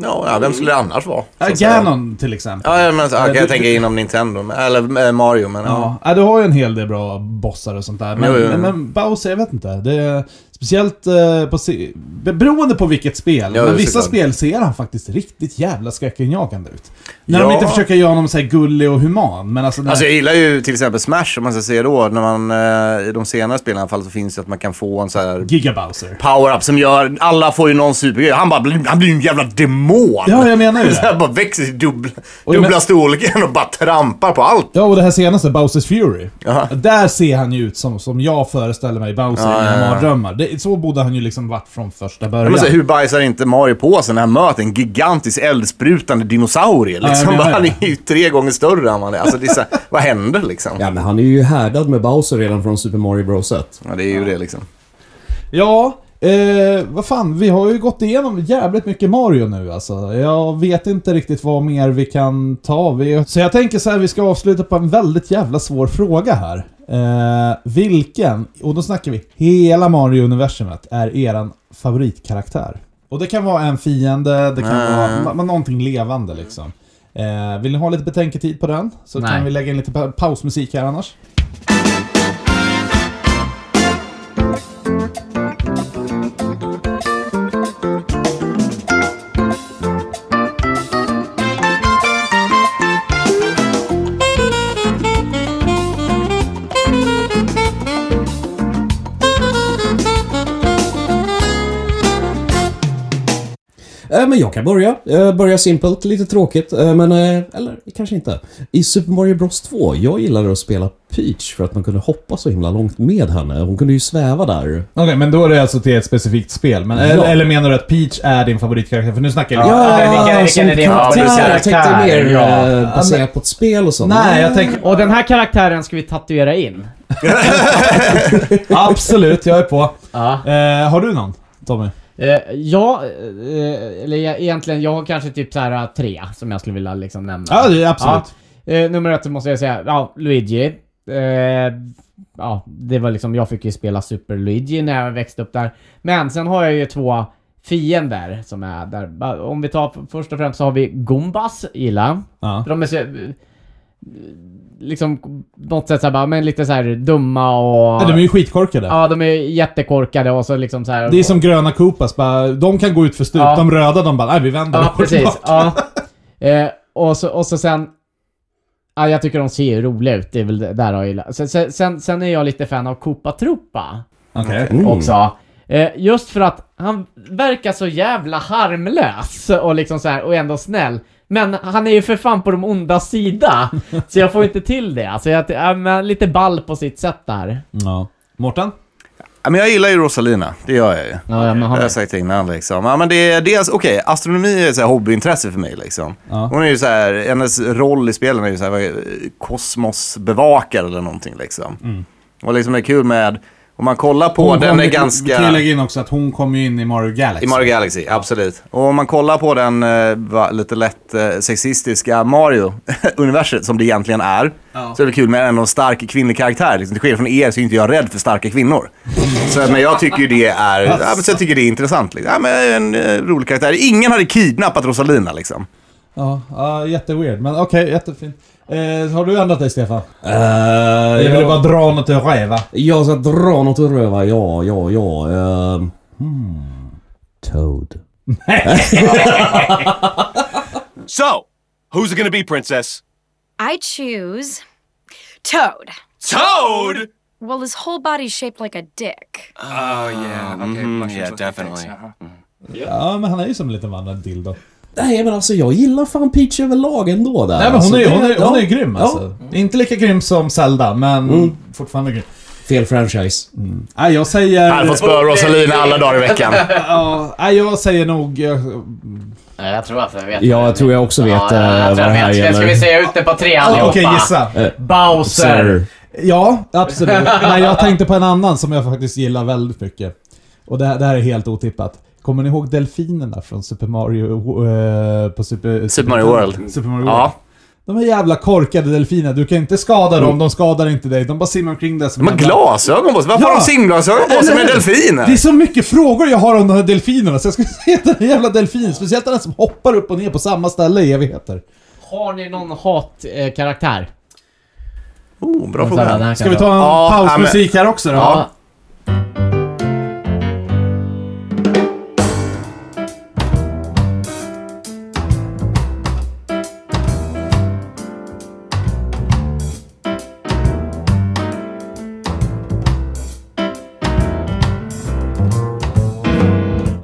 Speaker 5: Ja, ja, vem skulle det annars vara? Så att säga.
Speaker 1: Ganon till exempel.
Speaker 5: Ja, ja, men, så, okej,
Speaker 1: du-
Speaker 5: jag tänker inom Nintendo, men- eller eh, Mario, men ja.
Speaker 1: Ja, ja, du har ju en hel del bra bossar och sånt där. Men,
Speaker 5: Jo, jo,
Speaker 1: men,
Speaker 5: jo.
Speaker 1: men Bowser, jag vet inte. Det är speciellt eh, på... se- Beroende på vilket spel.
Speaker 5: Ja,
Speaker 1: men
Speaker 5: det är
Speaker 1: vissa
Speaker 5: såklart.
Speaker 1: spel ser han faktiskt riktigt jävla skräckinjagande ut. När de
Speaker 5: Ja.
Speaker 1: inte försöker göra honom så här gullig och human. Men alltså... när-
Speaker 5: Alltså jag gillar ju till exempel Smash, om man ska säga då, när man, eh, i de senare spelen i alla fall, så finns det att man kan få en så här
Speaker 1: Giga Bowser.
Speaker 5: power-up som gör, alla får ju någon supergrej. Han bara, blir- han blir ju en jävla demon.
Speaker 1: Ja, jag menar ju det.
Speaker 5: Så här bara växer i dubbla,
Speaker 1: jag men-
Speaker 5: dubbla storleken och bara trampar på allt.
Speaker 1: Ja, och det här senaste, Bowsers Fury.
Speaker 5: Jaha.
Speaker 1: Där ser han ju ut som, som jag föreställer mig Bowser i mina mardrömmar. Det, så borde han ju liksom varit från första början.
Speaker 5: Men så, här, hur bajsar inte Mario på sig när han möter en gigantisk eldsprutande dinosaurie?
Speaker 1: Ja, jag
Speaker 5: Liksom.
Speaker 1: menar det.
Speaker 5: han är ju tre gånger större än man är. Alltså, det är så här, vad händer liksom?
Speaker 2: Ja, men han är ju härdad med Bowser redan från Super Mario Bros 1.
Speaker 5: Ja, det är ju det liksom.
Speaker 1: Ja, eh, vad fan, vi har ju gått igenom jävligt mycket Mario nu alltså. Jag vet inte riktigt vad mer vi kan ta. Vi, så jag tänker så här, vi ska avsluta på en väldigt jävla svår fråga här. Eh, vilken, och då snackar vi hela Mario-universumet, är eran favoritkaraktär? Och det kan vara en fiende, det kan vara ma- ma- någonting levande liksom. Eh, vill ni ha lite betänketid på den? Så
Speaker 4: Nej.
Speaker 1: kan vi lägga in lite pa- pausmusik här annars.
Speaker 2: Eh, men jag kan börja. Eh, börja simpelt, lite tråkigt, eh, men... Eh, eller kanske inte. I Super Mario Bros 2, jag gillade att spela Peach för att man kunde hoppa så himla långt med henne. Hon kunde ju sväva där.
Speaker 1: Okej, men då är det alltså till ett specifikt spel. Men,
Speaker 2: Ja.
Speaker 1: eller, eller menar du att Peach är din favoritkaraktär? För nu snackar jag
Speaker 4: Ja, men vilken- vilken
Speaker 2: som
Speaker 4: är din
Speaker 2: karaktär.
Speaker 4: favoritkaraktär?
Speaker 2: Jag tänkte mer
Speaker 4: Ja.
Speaker 2: eh, baserat på ett spel och sånt.
Speaker 1: Nej, jag tänker...
Speaker 4: Och den här karaktären ska vi tatuera in.
Speaker 1: Absolut, jag är på.
Speaker 4: Ja.
Speaker 1: Eh, har du någon, Tommy?
Speaker 4: Eh, ja, eh, eller jag, egentligen, jag har kanske typ så här eh, tre som jag skulle vilja liksom nämna.
Speaker 1: Ja, det är absolut.
Speaker 4: Ja. Eh, nummer ett måste jag säga, ja, Luigi. Eh, ja, det var liksom, jag fick ju spela Super Luigi när jag växte upp där. Men sen har jag ju två fiender som är där. Ba- Om vi tar, först och främst så har vi Gumbas, gilla.
Speaker 1: Ja.
Speaker 4: För de är så, eh, liksom, på något sätt så här, bara, men lite så här dumma och...
Speaker 1: Nej, De är ju skitkorkade.
Speaker 4: Ja, de är jättekorkade och så liksom så här,
Speaker 1: Det är som gröna Koopas, bara, de kan gå ut för stup.
Speaker 4: Ja.
Speaker 1: De röda, de bara nej, vi vänder
Speaker 4: Ja,
Speaker 1: och går
Speaker 4: precis.
Speaker 1: tillbaka."
Speaker 4: Ja. Eh, och, så, och så sen... Ja, jag tycker de ser ju roliga ut, det är väl det- där jag gillar. Sen- Sen, sen, sen är jag lite fan av Koopa Troopa
Speaker 1: Okej.
Speaker 2: Mm.
Speaker 4: också. Eh, just för att han verkar så jävla harmlös och liksom så här, och ändå snäll. Men han är ju för fan på de onda sida, så jag får inte till det. Alltså jag, ja, men lite ball på sitt sätt där.
Speaker 1: Ja. Mårten?
Speaker 5: Ja, men jag gillar ju Rosalina, det gör jag ju.
Speaker 4: Ja, ja, men
Speaker 5: Det
Speaker 4: han
Speaker 5: har jag sagt innan liksom. Ja, men det är dels, okej, astronomi är så här hobbyintresse för mig liksom.
Speaker 1: Ja.
Speaker 5: Hon är ju så här, hennes roll i spelen är ju så här, vad är- kosmosbevakare eller någonting liksom. Och liksom det är kul med, om man kollar på,
Speaker 1: Mm. Hon
Speaker 5: den
Speaker 1: kom-
Speaker 5: är
Speaker 1: Vi kan ju
Speaker 5: ganska...
Speaker 1: lägga in också att hon kommer ju in i Mario Galaxy.
Speaker 5: I Mario Galaxy, absolut. Och om man kollar på den eh, va, lite lätt eh, sexistiska Mario-universet som det egentligen är. Så är det kul med en och stark kvinnlig karaktär. Liksom, till skillnad från er så är inte jag rädd för starka kvinnor. så, men jag tycker ju det är, ja, men så jag tycker det är intressant. Liksom. Ja, men en eh, rolig karaktär. Ingen hade kidnappat Rosalina liksom.
Speaker 1: Ja, ja jätteweird. Men okej, jättefint. Eh, har du ändrat dig, Stefan?
Speaker 2: Eh,
Speaker 1: Jag ville
Speaker 2: jag-
Speaker 1: bara dra något ur röva.
Speaker 2: Jag ska dra något ur röva, ja, ja, ja. ehm, hmm. Toad.
Speaker 6: So, who's it gonna be, Princess?
Speaker 7: I choose Toad.
Speaker 6: Toad!
Speaker 7: Well, his whole body's shaped like a dick.
Speaker 6: Oh, yeah. Okay. yeah, definitely.
Speaker 1: Ja, men han är ju som en liten vandrad dildo.
Speaker 2: Nej men alltså jag gillar fan Peach överlag ändå där.
Speaker 1: Nej men
Speaker 2: alltså,
Speaker 1: hon är ju
Speaker 2: det-
Speaker 1: hon är, hon är ju
Speaker 2: ja,
Speaker 1: grym
Speaker 2: ja.
Speaker 1: alltså. Inte lika grym som Zelda, men fortfarande grym.
Speaker 2: Fel franchise.
Speaker 1: Mm.
Speaker 4: Mm.
Speaker 1: Nej, jag säger...
Speaker 3: Han får spöa Rosalina alla dagar i veckan.
Speaker 1: Ja, nej, jag säger nog... eh, jag-
Speaker 4: Jag tror att jag vet.
Speaker 2: Ja, jag tror jag också vet eh, vad det här gäller. Ah,
Speaker 4: Ska vi säga ut det på tre
Speaker 1: Okej,
Speaker 4: allihopa?
Speaker 1: gissa.
Speaker 4: Eh, Bowser.
Speaker 2: Eh, Sir.
Speaker 1: Ja, absolut. Nej, jag tänkte på en annan som jag faktiskt gillar väldigt mycket. Och det här, det här är helt otippat. Kommer ni ihåg delfinerna från Super Mario... eh, på Super,
Speaker 3: Super Mario World.
Speaker 1: Super Mario World.
Speaker 3: Ja.
Speaker 1: De här jävla korkade delfinerna, du kan inte skada
Speaker 3: Mm.
Speaker 1: dem, de skadar inte dig. De bara simmar omkring där som
Speaker 5: De har
Speaker 1: jävla-
Speaker 5: glasögon på sig. Varför
Speaker 1: Ja.
Speaker 5: har de simglasögon på sig med delfiner?
Speaker 1: Det är så mycket frågor jag har om de här delfinerna, så jag skulle säga att den här jävla delfinen, speciellt den som hoppar upp och ner på samma ställe i evigheter.
Speaker 4: Har ni någon eh, hatkaraktär?
Speaker 5: Oh, bra
Speaker 4: Eh, karaktär?
Speaker 5: fråga.
Speaker 1: Ska vi ta en
Speaker 5: Ja,
Speaker 1: pausmusik här också då?
Speaker 5: Ja.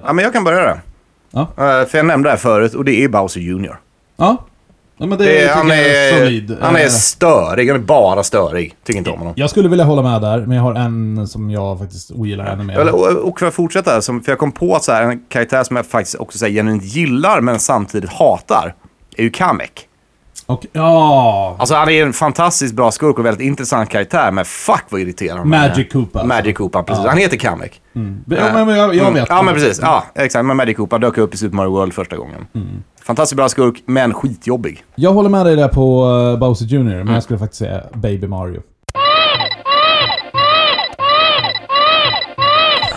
Speaker 5: Ja, men jag kan börja då.
Speaker 2: Ja.
Speaker 5: Eh, för jag nämnde det här förut och det är Bowser Jr.
Speaker 2: Ja. ja men det,
Speaker 5: Det,
Speaker 2: tycker
Speaker 5: han,
Speaker 2: jag är solid.
Speaker 5: är, han är
Speaker 2: Eh,
Speaker 5: störig, han är bara störig. Tycker inte om honom.
Speaker 1: Jag skulle vilja hålla med där, men jag har en som jag faktiskt ogillar ännu mer.
Speaker 5: Eller, och, och för att fortsätta, här, som- för jag kom på att så här, en karaktär som jag faktiskt också så här, genuint gillar men samtidigt hatar, är ju Kamek.
Speaker 1: Och, ja...
Speaker 5: Alltså han är en fantastiskt bra skurk och väldigt intressant karaktär, men fuck vad irriterande han är.
Speaker 1: Magic Koopa.
Speaker 5: Magic Koopa, precis. Han heter Kamek.
Speaker 1: Ja, men, men jag, jag
Speaker 5: Mm.
Speaker 1: vet.
Speaker 5: Ja, men precis. Ja, exakt. Men Magic Koopa dök upp i Super Mario World första gången.
Speaker 1: Mm.
Speaker 5: Fantastiskt bra skurk, men skitjobbig.
Speaker 1: Jag håller med dig där på eh, Bowser Jr, men
Speaker 5: Mm.
Speaker 1: jag skulle faktiskt säga Baby Mario.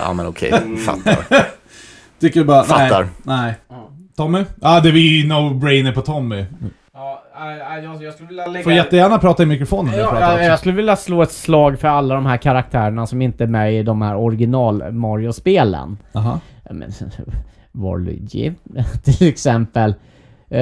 Speaker 5: Ja, men okej. Fattar.
Speaker 1: Tycker du bara...
Speaker 5: Fattar.
Speaker 1: Nej. nej. Tommy? Ja, ah, det är ju no-brainer på Tommy.
Speaker 4: Ja, jag, eh, jag, jag skulle vilja lägga...
Speaker 1: Får jättegärna prata i mikrofonen när du pratar
Speaker 4: Ja,
Speaker 1: också.
Speaker 4: jag skulle vilja slå ett slag för alla de här karaktärerna som inte är med i de här original Mario-spelen.
Speaker 1: Aha.
Speaker 4: Ja, men, Var Luigi, till exempel. Eh,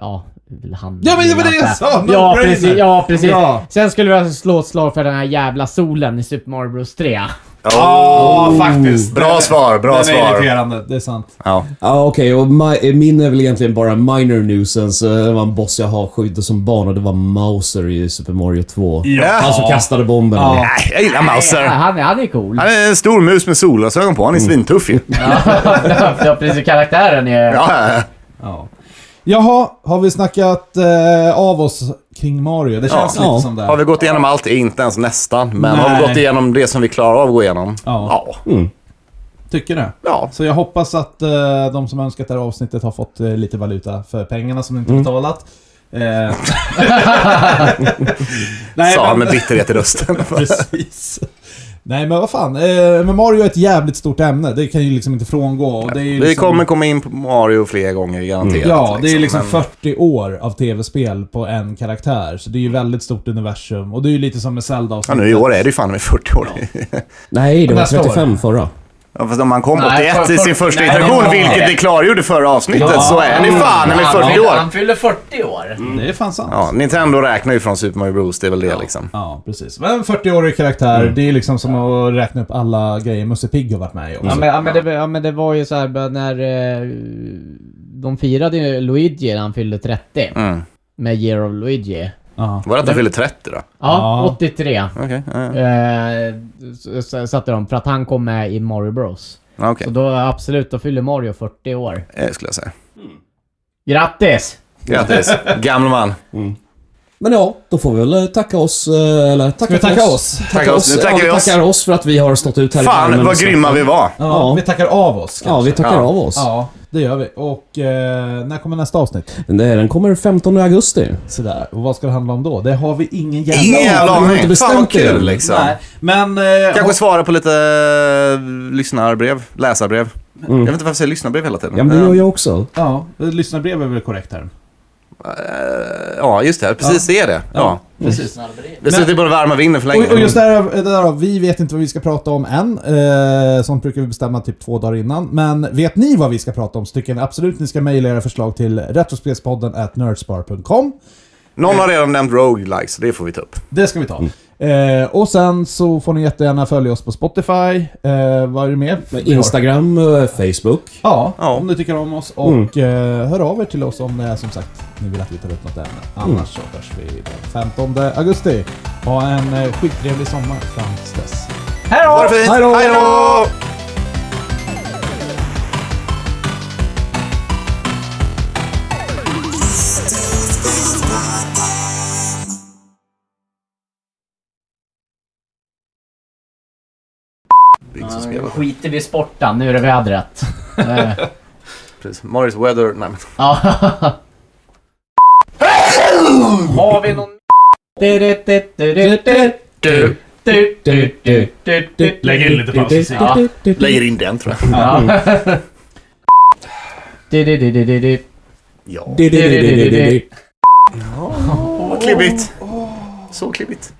Speaker 4: ja, vill han...
Speaker 1: Ja, men det var det jag sa, no
Speaker 4: Ja,
Speaker 1: brainer.
Speaker 4: precis! Ja, precis.
Speaker 1: Ja.
Speaker 4: Sen skulle jag slå ett slag för den här jävla solen i Super Mario Bros 3.
Speaker 1: Ja, faktiskt.
Speaker 5: Bra svar, bra
Speaker 1: Den är
Speaker 5: svar.
Speaker 1: irriterande, Oh. det är sant.
Speaker 5: Ja.
Speaker 2: Ja okej, och mi- min är väl egentligen bara minor nuisance. Eh, Det var en boss jag haschydde som barn och det var Mauser i Super Mario 2. Han
Speaker 1: alltså-
Speaker 2: som kastade bomben.
Speaker 5: Nej, jag gillar
Speaker 4: Ja,
Speaker 5: Mauser.
Speaker 4: han, är- han är cool.
Speaker 5: Han är en stor mus med solglasögon på. Han är
Speaker 1: Mm.
Speaker 5: svintuff ju.
Speaker 4: ja, precis. Karaktären är...
Speaker 5: Ja, ja.
Speaker 1: Ja. Jaha, har vi snackat eh, av oss kring Mario? Det känns lite
Speaker 5: Ja.
Speaker 2: Ja.
Speaker 1: som det.
Speaker 5: Har vi gått igenom allt? Inte ens nästan. Men har vi
Speaker 1: Nej.
Speaker 5: gått igenom det som vi klarar av att gå igenom?
Speaker 1: Ja.
Speaker 5: Ja.
Speaker 1: Tycker det.
Speaker 5: Ja.
Speaker 1: Så jag hoppas att eh, de som önskat det här avsnittet har fått eh, lite valuta för pengarna som de inte betalat. Eh. Nej,
Speaker 5: Sa han
Speaker 1: men-
Speaker 5: med bitterhet i rösten.
Speaker 1: Precis. Nej men vad fan, eh, men Mario är ett jävligt stort ämne. Det kan ju liksom inte frångå. Och det är ju
Speaker 5: Vi
Speaker 1: liksom,
Speaker 5: kommer komma in på Mario fler gånger garanterat.
Speaker 1: Ja, det är liksom
Speaker 5: men-
Speaker 1: 40 år av tv-spel på en karaktär. Så det är ju väldigt stort universum. Och det är ju lite som med Zelda och
Speaker 5: Ja, nu i år är det ju fan med 40 år.
Speaker 2: Nej, det var
Speaker 1: Nästa år.
Speaker 2: 35 förra.
Speaker 5: Ja, fast om man kom
Speaker 4: Nej,
Speaker 5: 81 i
Speaker 4: för-
Speaker 5: sin första
Speaker 4: nej,
Speaker 5: iteration,
Speaker 4: det var-
Speaker 5: vilket det klargjorde förra avsnittet, så är ni fan med 40 år.
Speaker 4: fyller 40 år.
Speaker 1: Det är fan sant.
Speaker 5: Ja, Nintendo räknar ju från Super Mario Bros, det är väl det liksom.
Speaker 1: Ja, precis. Men 40-årig karaktär,
Speaker 5: Mm.
Speaker 1: det är liksom som att räkna upp alla grejer Musse Pigg har varit med i också.
Speaker 5: Mm.
Speaker 4: Ja men, ja, men, det, ja, men det var ju så här bara när eh, de firade ju Luigi när han fyllde 30.
Speaker 5: Mm.
Speaker 4: Med Year of Luigi.
Speaker 1: Ja.
Speaker 5: Var det att han fyllde 30 då?
Speaker 4: Ja,
Speaker 1: Ja.
Speaker 4: 83.
Speaker 5: Okej. ja,
Speaker 4: Eh, s- s- satte de för att han kom med i Mario Bros.
Speaker 5: ja. Okej,
Speaker 4: Så då absolut, då fyller Mario 40 år.
Speaker 5: eh, skulle jag säga.
Speaker 4: Grattis!
Speaker 5: Grattis, gamle man.
Speaker 2: Men ja, då får vi väl eh, tacka oss, eh, eller tacka,
Speaker 1: vi
Speaker 2: för
Speaker 1: tacka oss?
Speaker 5: Tacka oss. Nu
Speaker 2: Ja,
Speaker 5: tackar
Speaker 2: vi
Speaker 5: vi oss.
Speaker 2: tackar oss för att vi har stått ut här i
Speaker 5: Fan
Speaker 2: värmen
Speaker 5: vad
Speaker 2: och så.
Speaker 5: grymma vi var.
Speaker 1: Ja,
Speaker 2: Ja.
Speaker 1: vi tackar av oss kanske.
Speaker 2: Ja, vi tackar
Speaker 5: Ja.
Speaker 2: av oss.
Speaker 1: Ja, det gör vi. Och eh, när kommer nästa avsnitt?
Speaker 2: Nej, Den kommer 15 augusti.
Speaker 1: Sådär. Och vad ska det handla om då? Det har vi ingen jävla
Speaker 5: Ingen jävla
Speaker 2: har
Speaker 5: aning.
Speaker 2: inte
Speaker 5: Fan vad
Speaker 2: bestämt det.
Speaker 5: kul liksom.
Speaker 1: Nej, men... Eh,
Speaker 5: Kanske svara på lite eh, lyssnarbrev, läsarbrev. Jag vet inte varför jag säger lyssnarbrev hela tiden.
Speaker 2: Ja, men det gör
Speaker 5: Eh,
Speaker 2: jag också.
Speaker 1: ja, lyssnarbrev är väl korrekt term?
Speaker 5: Eh, ja, just det. Precis, det är det. Ja.
Speaker 1: Precis.
Speaker 5: Det sitter på den varma vinden för länge.
Speaker 1: Och, och just
Speaker 5: Mm.
Speaker 1: där, där då, vi vet inte vad vi ska prata om än. Eh, sånt brukar vi bestämma typ två dagar innan. Men vet ni vad vi ska prata om så tycker jag absolut ni ska mejla era förslag till retrospelspodden at nerdspar.com.
Speaker 5: Någon har redan nämnt roguelike, så det får vi ta upp.
Speaker 1: Det ska vi ta.
Speaker 5: Mm.
Speaker 1: Eh, och sen så får ni jättegärna följa oss på Spotify. Eh, vad är det mer?
Speaker 2: Instagram, eh, Facebook.
Speaker 1: Ja,
Speaker 5: Ja. Mm.
Speaker 1: om ni tycker om oss. Och eh, hör av er till oss om det är som sagt ni vill att vi tar upp något ämne.
Speaker 5: Mm.
Speaker 1: Annars så hörs vi den 15 augusti. Ha en eh, skittrevlig sommar fram tills dess.
Speaker 5: Ha det fint!
Speaker 1: Hej då!
Speaker 5: Hej då! Byxorspel.
Speaker 4: Skiter vi i sporten, nu är det vädret. Eh,
Speaker 5: Precis. Morris Weather. Nej, men.
Speaker 4: ja. Har vi någon...
Speaker 5: Du,
Speaker 6: Lägg in lite paus.
Speaker 4: Ja.
Speaker 5: lägger in den tror jag.
Speaker 4: 啊
Speaker 5: Ja.
Speaker 2: Du, du, du, du, du, du.
Speaker 5: Vad klibbigt. Så klibbigt.